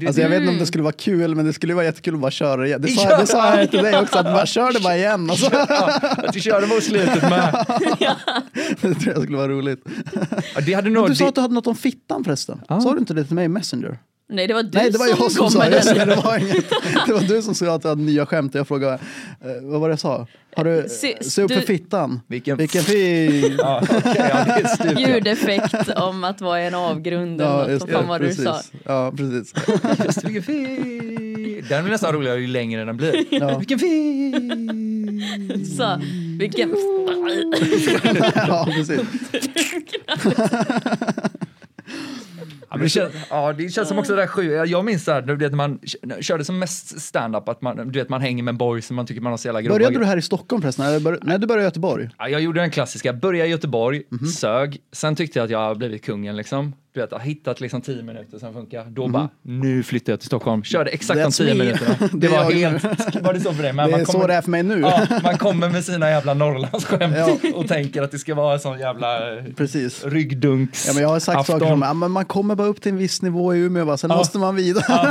Det-
Alltså jag vet inte om det skulle vara kul men det skulle vara jättekul att bara köra det igen. Det sa,
Kör!
det sa jag till dig också, att bara kör det bara igen. Alltså.
Att du kör den mot slutet med.
Det tror jag skulle vara roligt.
Ja, Det hade
Men
nog...
du sa
det-
att du hade något om fittan förresten. Sa du inte det till mig i Messenger?
Nej det var du
Nej, det var
som,
jag som
kom
sa
med
det.
den.
Det var, inget. det var du som sa att du hade nya skämt och jag frågade, eh, vad var det jag sa? Har du,
Se-
se upp för
du-
fittan.
Vilken-
Vilken fi...
Ja, okej, ja, det är stup, ja.
Ljudeffekt om att vara i en avgrund eller något. Vad fan var det du sa?
precis. Ja, precis.
Just vilken fi... Den blir nästan roligare ju längre den blir.
Ja.
Vilken fi...
Så, vilken...
ja, precis.
Ja, men det känns, ja, det känns som också det där sju... Jag minns så här, du vet, när man k- körde som mest stand-up att man, du vet, man hänger med en boy som man tycker man har så jävla grova...
Började du här i Stockgren förresten? Eller bör... Nej, du började i Göteborg.
Ja, jag gjorde den klassiska, började i Göteborg,
Mhm.
sög, sen tyckte jag att jag hade blivit kungen liksom. Du vet, jag har hittat liksom tio minuter, sen funkar. Då bara, nu flyttar jag till Stockholm. Körde exakt de
Mhm. That's
tio
me.
minuterna. Det,
Det är
var
jag.
helt... Var det så för dig? Men
Det
man
är så
kommer-
det är för mig nu.
Ja, man kommer med sina jävla Norrlandsskämt
Ja.
och tänker att det ska vara en sån jävla eh,
Precis.
ryggdunks
Ja, men jag har sagt saker
afton.
som, ja, men man kommer bara upp till en viss nivå i Umeå, va? sen måste man vidare.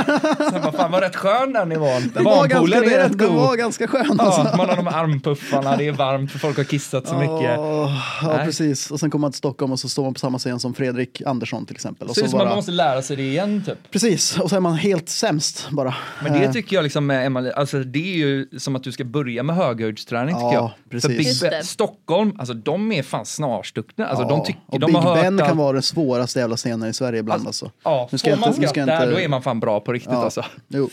Sen bara, fan vad rätt skön den nivån.
Den var, ganska,
Barnpoolen är rätt
den var
god.
ganska skön. Alltså.
Ja, man har de här armpuffarna, det är varmt för folk har kissat så mycket.
Åh, ja,
Nej.
precis. Och sen kommer man till Stockholm och så står man på samma scen som Fredrik Andersson till exempel. Och
Så det är
så
som att man
bara,
måste lära sig det igen typ.
precis, och så är man helt sämst bara.
Men
Eh.
det tycker jag liksom med Emma, alltså det är ju som att du ska börja med höghöjdsträning
Ja,
tycker jag.
precis.
För Big
Just
ben,
det.
Stockholm, alltså de är fan snarstukna. Alltså
Ja,
de tycker,
och
de
Big
har hört
Ben
att-
kan vara den svåraste jävla scenen i Sverige ibland alltså.
Ja,
Nu ska
får
jag
man
inte- nu ska jag
skratta,
inte-
då är man fan bra på riktigt
Ja.
alltså.
Jo.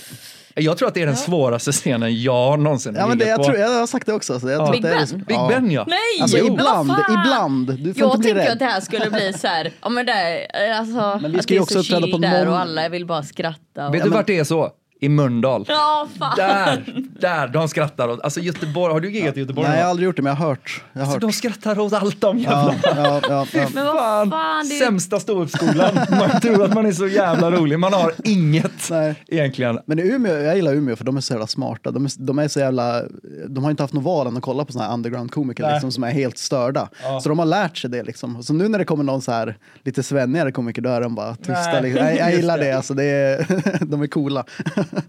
Jag tror att det är den svåraste scenen jag någonsin
Ja, men det,
giggat
jag,
på.
tror, jag har sagt det också. Så jag tror
Big
att det är
Ben?
liksom-
Big Ben, ja.
Nej!
Alltså
men vad
ibland,
fan!
ibland. Du får
Jag
inte bli
tänker
rädd.
att det här skulle bli så här, ja men det är, alltså,
Men vi
att
ska
det
ju
är
också
så
uppträda
chill
på
där
någon-
och alla vill bara skratta. Och...
Vet du vart det är så? I Mölndal.
Ja, fan!
Där, där, de skrattar åt. Alltså Göteborg, har du giggat i Göteborg?
Nej, jag har
någon
aldrig gjort det, men jag har hört. Jag
gång?
har hört.
alltså, de skrattar åt allt de
Ja,
jävla...
ja, ja, ja.
Men vad fan, det är ju...
Sämsta ståuppskolan. Man tror att man är så jävla rolig. Man har inget
Nej.
egentligen.
Men i Umeå, jag gillar Umeå för de är så jävla smarta. De, är, de, är så jävla, de har inte haft någon valen att kolla på såna här underground-komiker
Nej.
liksom, som är helt störda.
Ja.
Så de har lärt sig det. Liksom. Så nu när det kommer någon så här lite svennigare komiker, då är de bara tysta.
Nej,
Liksom. Jag, jag
just
gillar
det.
det. Alltså, det är, de är coola.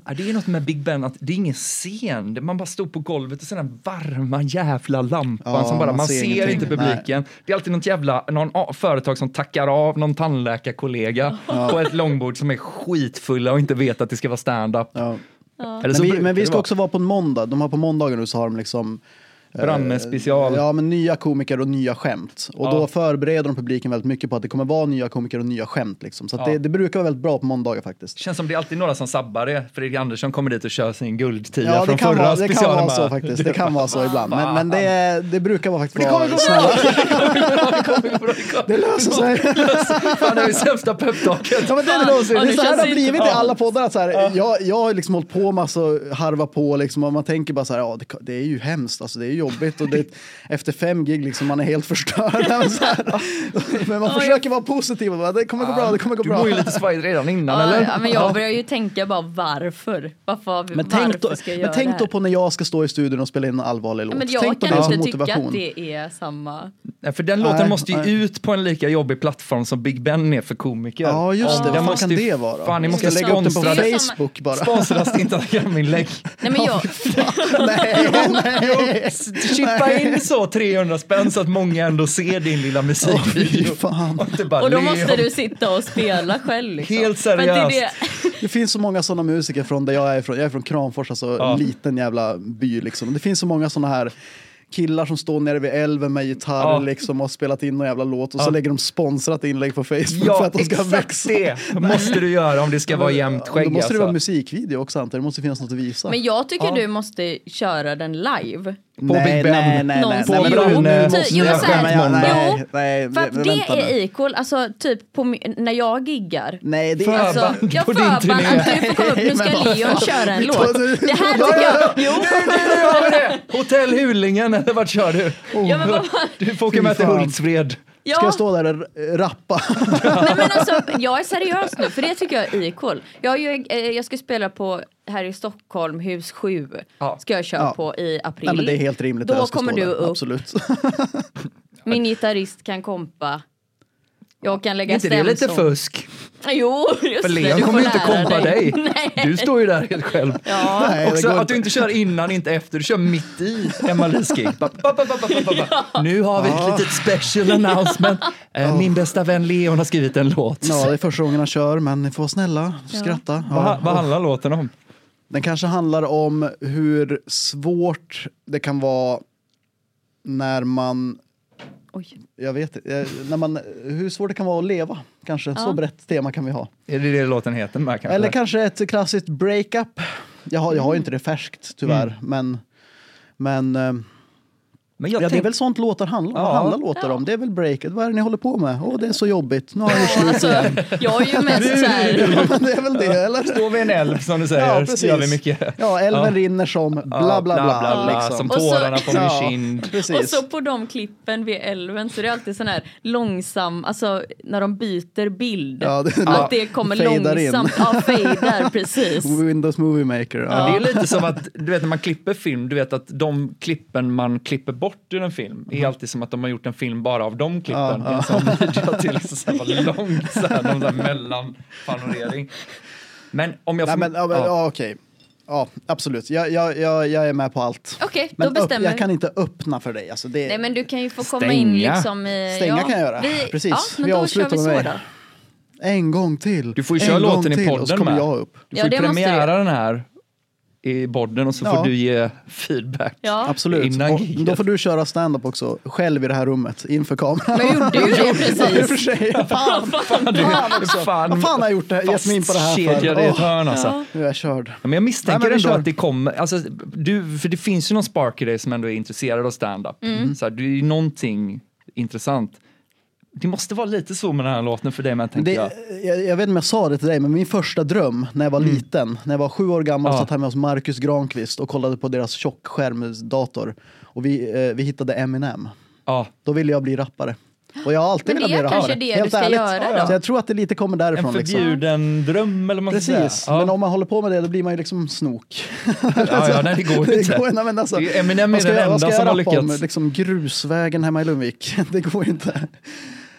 Ja, Det är något med Big Ben, att det är ingen scen. Det- Man bara står på golvet och ser den varma jävla lampan
Ja,
som bara,
man
man,
ser
ser,
ingenting.
inte publiken. Det är alltid något jävla, någon a- företag som tackar av någon tandläkarkollega på ett långbord som är skitfulla och inte vet att det ska vara stand-up.
Ja.
Eller så
Men, vi,
brukar
men vi
det
ska
vara.
också vara på en måndag. De har på måndagar nu så har de liksom
Branne special.
Ja, men nya komiker och nya skämt. Och då
Ja.
förbereder de publiken väldigt mycket på att det kommer vara nya komiker och nya skämt. Liksom. Så att
Ja.
det, det brukar vara väldigt bra på måndagar faktiskt.
Känns som det är alltid några som sabbar det. Fredrik Andersson kommer dit och kör sin guldtia
Ja, det
från
kan,
förra
vara, det
specialen.
kan vara så
bara,
faktiskt. Det kan vara så ibland. Men, men det, är- det brukar vara faktiskt
Det
bra.
kommer gå
snälla.
bra! Det kommer gå bra! Det kommer
Det
gå
löser sig.
bra! Fan, det är det sämsta peptalket.
Ja, men det är det
Fan,
någonsin.
ja,
Det är
det
så här
känns
det har blivit
inte
i
bra.
alla poddar. Att så här, jag, jag har liksom hållit på massa och harva på liksom, och man tänker bara så här, ja, det, det är ju hemskt, alltså, det är ju jobbigt och det, efter fem gig liksom, man är helt förstörd. Men, så här, men man
Oj.
försöker vara positiv och bara, det kommer gå bra, det kommer gå
Du mår
bra.
ju lite svajigt redan innan,
Ja,
eller?
ja, men jag börjar ju tänka bara varför? Varför, har vi-
Men tänk, då,
varför ska jag
men
göra det
tänk
här?
då på när jag ska stå i studion och spela in en allvarlig låt.
Ja, men jag
tänk på
kan
det som
inte tycka
motivation.
att det är samma.
Nej, för den låten
Nej,
måste ju
nej.
ut på en lika jobbig plattform som Big Ben är för komiker.
Ja, just det.
Den
Vad fan
måste
kan
ju-
det vara?
Fan, ni
ska
måste
jag lägga upp den på
sponsra
Det är ju
det.
som-
Facebook bara.
Sponsras ditt Instagram-inlägg.
Nej, men jag,
nej, nej.
Chippa in så 300 spänn så att många ändå ser din lilla
Fy
musikvideo.
fan.
Och inte bara
och då
le
måste
om-
du sitta och spela själv. Liksom.
Helt
Men det är
seriöst.
det-
Det finns så många sådana musiker från där jag är ifrån. Jag är från Kramfors, alltså
Ja.
en liten jävla by liksom. Det finns så många sådana här killar som står nere vid älven med gitarr
Ja.
liksom och har spelat in någon jävla låt och
Ja.
så lägger de sponsrat inlägg på Facebook för
Ja,
att de ska
exakt
växa.
det måste du göra om det ska vara jämnt
Då
skägg.
måste det vara
alltså.
musikvideo också antar jag. Det måste finnas något att visa.
Men jag tycker
Ja.
du måste köra den live.
Big Ben.
Någonstans.
men
Jo,
nu- nu
typ-
måste-
jo,
nu-
men så här-
men jag-
jo,
nej, nej,
För att
vä-
det
vänta nu.
är equal, alltså typ på, mi- när jag giggar.
Nej, det är
Förband.
Alltså, jag
på din
förband
turné.
att du får komma upp, nu
Nej,
ska
men vad
Leon
fan.
köra en
Vi
låt.
tar-
Det här tycker jag, jo,
Nu har vi det! Hotell Hulingen, eller vart kör du?
ja, men vad fan.
Du får åka
Oh. Fy
med till
fan.
Hultsfred.
Ja.
Ska jag stå där och r- rappa?
Nej, men alltså, jag är seriös nu, för det tycker jag är equal. Jag, har ju, eh, jag ska spela på här i Stockholm, hus 7,
Ja.
ska jag köra
Ja.
på i april.
Nej, men det är helt rimligt.
Då
att jag ska
kommer
stå
du
där.
upp.
Absolut.
Min gitarrist kan kompa. Jag kan lägga
inte det är lite
stämsång.
fusk?
Jo, just
För
det.
Leon
du
kommer ju
får
inte
lära
kompa dig.
Nej.
Du står ju där helt själv.
Ja.
Nej, det
Också
går
att du inte kör innan, inte efter. Du kör mitt i Emma Lees gig. Ba, ba, ba, ba, ba, ba, ba. Nu har vi ett litet special announcement. Eh, Min bästa vän Leon har skrivit en låt.
Ja, det är första gången han kör, men ni får vara snälla, skratta. Ja.
Vad, vad handlar låten om?
Den kanske handlar om hur svårt det kan vara när man,
Oj.
jag vet inte, eh, när man, hur svårt det kan vara att leva. Kanske, så
Ja.
brett tema kan vi ha.
Är det det låten heter? Med, kanske?
Eller kanske ett klassiskt breakup. Jag har, jag har ju inte det färskt tyvärr,
Mm.
men, men eh,
Men
ja,
jag
det är
tänk-
väl sånt låtar handlar om. Vad
Ja.
handlar låtar om? Det är väl breakup. Vad är det ni håller på med? Åh, det är så jobbigt. Nu har jag gjort
Ja,
slut.
alltså, jag är ju mest så här...
Ja, men det är väl det, eller?
Står vid en älv som du säger,
Ja,
så gör vi
precis.
mycket.
Ja, älven rinner som bla bla bla. liksom.
Som
Och så-
tårarna på min
Ja,
kind.
Och
Precis.
så på de klippen vid älven så är det alltid sån här långsam, alltså när de byter bild.
Ja, det-
ja,
att det kommer
fejdar in.
långsamt. Ja, fejdar precis.
Windows Movie Maker.
Men
Ja.
Det är lite som att du vet när man klipper film, du vet att de klippen man klipper bort ur en film är alltid som att de har gjort en film bara av de klippen.
Mm.
Liksom.
Ja,
Det är en sån video till så så här, vad långt så här, någon så här mellanpanorering. Men om jag
Nej,
får...
men, ja, men,
ja.
ja, okej. Ja, absolut. Jag, jag, jag, jag är med på allt.
Okej, då
Men upp,
bestämmer
jag
vi.
kan inte öppna för dig. Alltså, det,
Nej men du kan ju få komma
Stänga.
in liksom i...
Stänga
ja,
kan jag göra.
Vi,
Precis.
Ja, men
Vi
då kör
avslutar
vi så
med mig.
då.
En gång till.
Du får ju
en
köra
gång
låten i
till,
podden
och så kommer
med.
jag upp.
Du får
Ja,
ju
det måste
premiära den här i podden och så
Ja.
får du ge feedback.
Ja.
Absolut.
Innan
Och
giget.
då får du köra stand-up också, själv i det här rummet, inför kameran.
Men jag gjorde ju det
Ja, i och för
precis.
sig. Fan,
Du,
fan också.
fan,
Vad fan har jag gjort det här? Gett mig in på det här
Fastkedjad
för?
i ett
Åh,
hörn alltså.
Ja.
nu är jag körd.
Ja, men jag misstänker
Nej, men vi
ändå
kör.
att det kommer, alltså, du, för det finns ju någon spark i dig som ändå är intresserad av stand-up. Mm. Så här, det är ju någonting intressant. Det måste vara lite så med den här låten för dig men tänker
Det,
jag.
jag, jag vet inte om jag sa det till dig, men min första dröm när jag var liten, när jag var sju år gammal,
Mm. Ja.
satt hemma hos Marcus Granqvist och kollade på deras tjockskärmsdator. Och vi, eh, vi hittade Eminem.
Ja,
Då ville jag bli rappare. Och jag har alltid
Men
velat
det
bli
är
rappare.
kanske det du ska göra då.
Så jag tror att det lite kommer
en
därifrån. Liksom.
förbjuden dröm eller vad man ska
Precis,
säga. Ja.
men om man håller på med det då blir man ju liksom snok.
ja, ja, nej, det går ju
Det
inte.
går, nej, men alltså,
Det är- Eminem är
vad ska
den
jag- vad
enda
ska
som
jag
har
rappa om?
lyckats.
Liksom grusvägen hemma i Lundvik. Det går ju inte.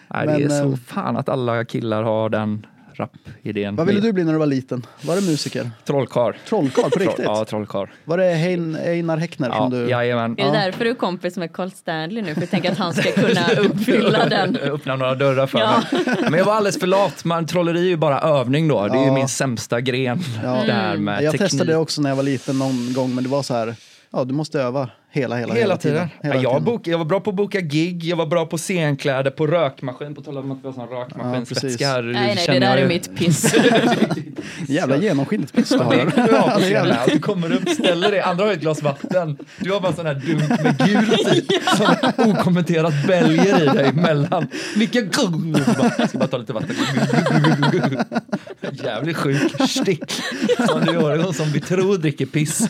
Nej, det är
men,
så
eh,
fan att alla killar har den rap-idén.
Vad ville du bli när du var liten? Var det musiker?
Trollkarl.
Trollkarl på
Troll-
riktigt?
Ja, trollkarl.
Var det Hein- Einar Häckner
Ja,
som du...
Jajamän.
Är det därför du är kompis med Carl Stanley nu? För jag tänker att han ska kunna uppfylla den.
Öppna några dörrar för
Ja.
mig. Men jag var alldeles för lat. Man, trolleri är ju bara övning då. Det är ju
Ja.
min sämsta gren.
Ja.
Det
Mm.
här med
Jag
teknik.
testade det också när jag var liten någon gång men det var så här, ja du måste öva hela, hela,
Hela, tiden.
Hela
ja, jag,
tiden.
bok, jag var bra på att boka gig, jag var bra på scenkläder, på rökmaskin, på tal om att vi har sån rökmaskinsvätska
Ja,
här.
Nej, nej, det
känner jag
där
ju.
är mitt piss.
Jävla genomskinligt piss du
Det
har.
kan du ha på skallen, att du kommer upp, ställer dig, andra har ett glas vatten. Du har bara sån här dunk med gult i, som okommenterat bälger i dig emellan. Vilka gugg! Ska bara ta lite vatten. Jävligt sjuk stick som du gör, som vi tror dricker piss.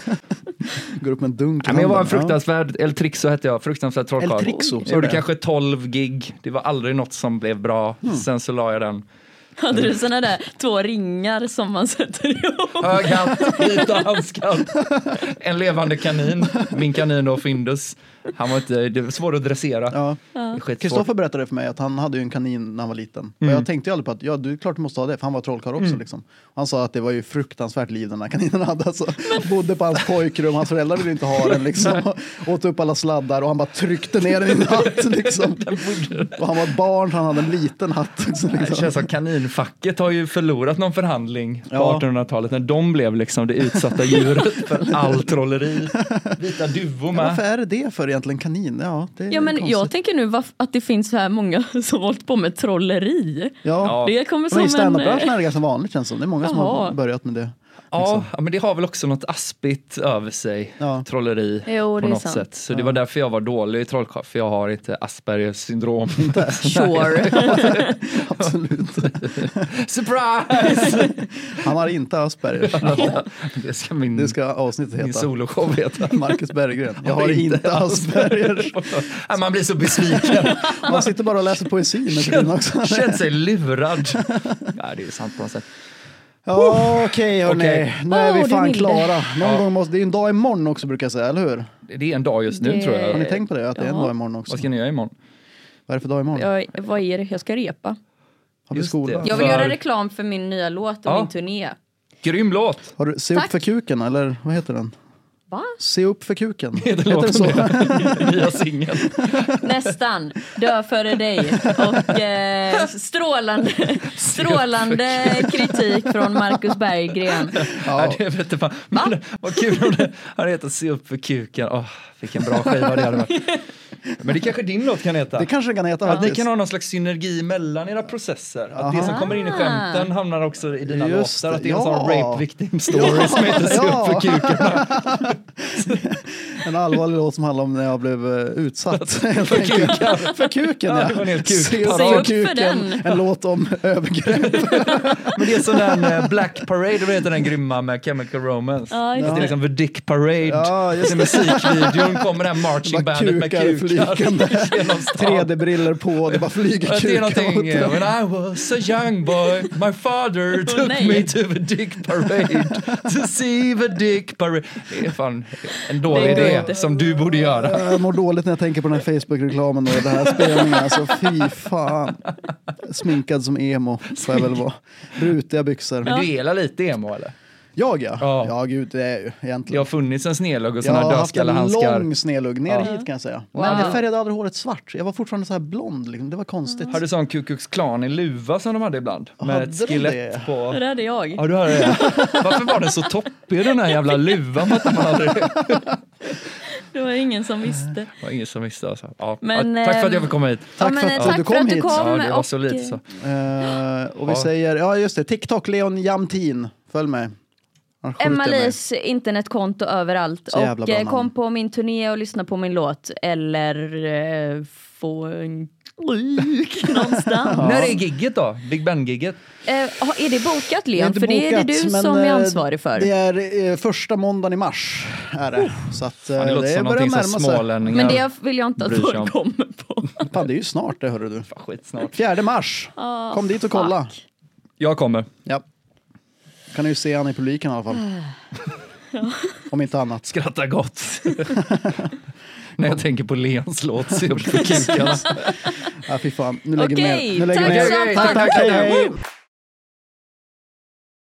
Går upp med en dunk i
Ja, men jag var en
handen. Ja.
fruktansvärd, El Trixo hette jag, fruktansvärd trollkarl.
El Trixo,
Jag gjorde
det.
kanske 12 gig, det var aldrig något som blev bra. Sen så la jag den.
Hade du såna där två ringar som man sätter ihop?
Hög hatt, vita handskar. En levande kanin. Min kanin då, Findus. Han var inte, det var svårt att dressera.
Ja.
Det är skitsvårt.
Kristoffer berättade för mig att han hade ju en kanin när han var liten.
Mm.
Och jag tänkte ju aldrig på att ja, du är klart du måste ha det, för han var trollkarl också. Liksom. Han sa att det var ju fruktansvärt liv den här kaninen hade. Alltså, Bodde på hans pojkrum, hans föräldrar ville inte ha den. Liksom. Åt upp alla sladdar och han bara tryckte ner den i en hatt. Liksom. Och han var ett barn, så han hade en liten hatt. Också,
Det
liksom.
känns som kaninfacket har ju förlorat någon förhandling på
Ja.
1800-talet när de blev liksom det utsatta djuret för all trolleri. Vita duvor
Men Varför
med.
är det det för egentligen kanin? Ja, det är
Ja, men
konstigt.
jag tänker nu varf- att det finns så här många som hållit på med trolleri.
Ja.
Ja.
Det kommer
Men I
som en... eh,
standup-branschen är det ganska vanligt känns det som. Det är många som
Jaha.
har börjat med det.
Ja, ja, men det har väl också något aspigt över sig,
liksom. Ja.
trolleri.
Jo,
på
det är
något
sant.
sätt. Så det var därför jag var dålig i trollkarl, för jag har inte Aspergers syndrom.
Sure.
Absolut.
Surprise!
Han har inte Aspergers.
det ska min,
Det ska avsnittet
min
heta.
soloshow heta.
Marcus Berggren. Jag har inte Aspergers.
Nej, Man blir så besviken.
Man sitter bara och läser poesi med tiden också.
Känt sig lurad. Nej, det är sant på något sätt.
Ja, Okej hörni,
Okej.
nu är
Åh,
vi
du
fan
ville.
klara. Någon gång måste, det är ju en dag imorgon också brukar jag säga, eller hur?
Det är en dag just nu
Det-
tror
Har
jag.
ni tänkt på det? Att det är en
Ja.
dag imorgon också.
Vad ska ni göra imorgon?
Vad är det för dag imorgon?
jag, vad är det? Jag ska repa.
Har vi
Just
skola?
det.
Jag vill
För-
göra reklam för min nya låt och
Ja.
min turné.
Grym låt!
Har du, se upp
Tack.
för kuken eller vad heter den?
Va?
Se upp för kuken. Heter
låten
den så?
Nya singeln.
Nästan. Dö före dig. Och eh, strålande, strålande kritik från Marcus Berggren.
Ja. det vet jag fan. Men, vad kul om det hade hetat Se upp för kuken. Åh, vilken bra skiva det hade varit. Men det kanske din låt kan heta?
Det kanske den kan heta
Att ni
faktiskt.
kan ha någon slags synergi mellan era processer. Att det
Aha.
som kommer in i skämten hamnar också i dina
Just
låtar. Att det är en
det,
sån
ja.
rape victim story som heter Se upp för
Ja.
kuken.
En allvarlig låt som handlar om när jag blev eh, utsatt. för kuken. för kuken,
det var
ja.
en hel kuk.
Se upp
Se
för
upp för
kuken.
den.
En låt om övergrepp.
Men det är som den eh, Black Parade, vad heter den grymma med Chemical Romance?
Ja, just
Fast Det är
det.
liksom The Dick Parade.
Ja, just
I musikvideon kommer det här marching
Bara
bandet med
kukar
kukar
flygande.
genom stan.
3D-briller på, det bara flyger
Att det är
kukar
någonting, eh,
åt dem.
when I was a young boy my father
Åh,
took
nej.
me to the dick parade to see the dick parade. Det är fan en dålig
Det går
idé
inte.
som du borde göra.
Jag mår dåligt när jag tänker på den här Facebook-reklamen och den här spelningen. Alltså fy fan. Sminkad som emo får jag väl vara. Rutiga byxor.
Men du gillar lite emo eller?
Jag ja.
Ja.
ja. gud, det är ju
Jag
egentligen.
har funnits en snedlugg och
Jag,
såna här
har haft en
dödskallehandskar.
lång snedlugg ner
Ja.
hit kan jag säga.
Wow.
Men jag färgade aldrig håret svart. Jag var fortfarande så här blond liksom. Det var konstigt.
Har du sån Ku Klux Klan i luva som de hade ibland? Med
Hade
ett
de
skelett
det?
på.
Det hade jag.
Ja, du har det. Varför var den så toppig den här jävla luvan? Att man hade det?
Det var ingen som visste.
det var ingen som visste alltså. ja.
Men,
ja, Tack för att jag
ehm,
fick komma hit.
Tack
ja, men,
för att
eh,
du
tack
kom
för att du
hit.
kom.
Ja, det var
och,
så lite så.
Eh, och vi
Ja.
säger, ja just det, TikTok, Leon Jamtin. Följ mig. Han skjuter
Emma
mig.
Lees internetkonto överallt.
Så jävla
och
bra
eh,
namn.
kom på min turné och lyssna på min låt. Eller eh, få en kuk någonstans.
När är gigget då? Big Ben-gigget?
Eh, ha- är det bokat
Det är
Leon?
inte
För det är
bokat,
det du
men,
som är
eh,
ansvarig för. Oh.
Det är eh, första måndagen i mars. Är det. Så att, eh,
Fan, det låter som någonting som smålänningar...
Men det vill jag inte att
Bryr sig om.
folk kommer på.
Fan, det är ju snart det, hörru du.
Fan, skit snart.
4 mars.
Ah,
Kom dit och kolla.
fuck.
Jag kommer.
Ja. Kan du ju se han i publiken i alla fall. Om inte annat.
Skratta gott. När jag tänker på Leons låt, se upp för kukarna.
Ja, fy fan. Nu lägger vi
Okej,
ner. Nu lägger vi
tack
ner.
så mycket.
tack, tack, hej, hej.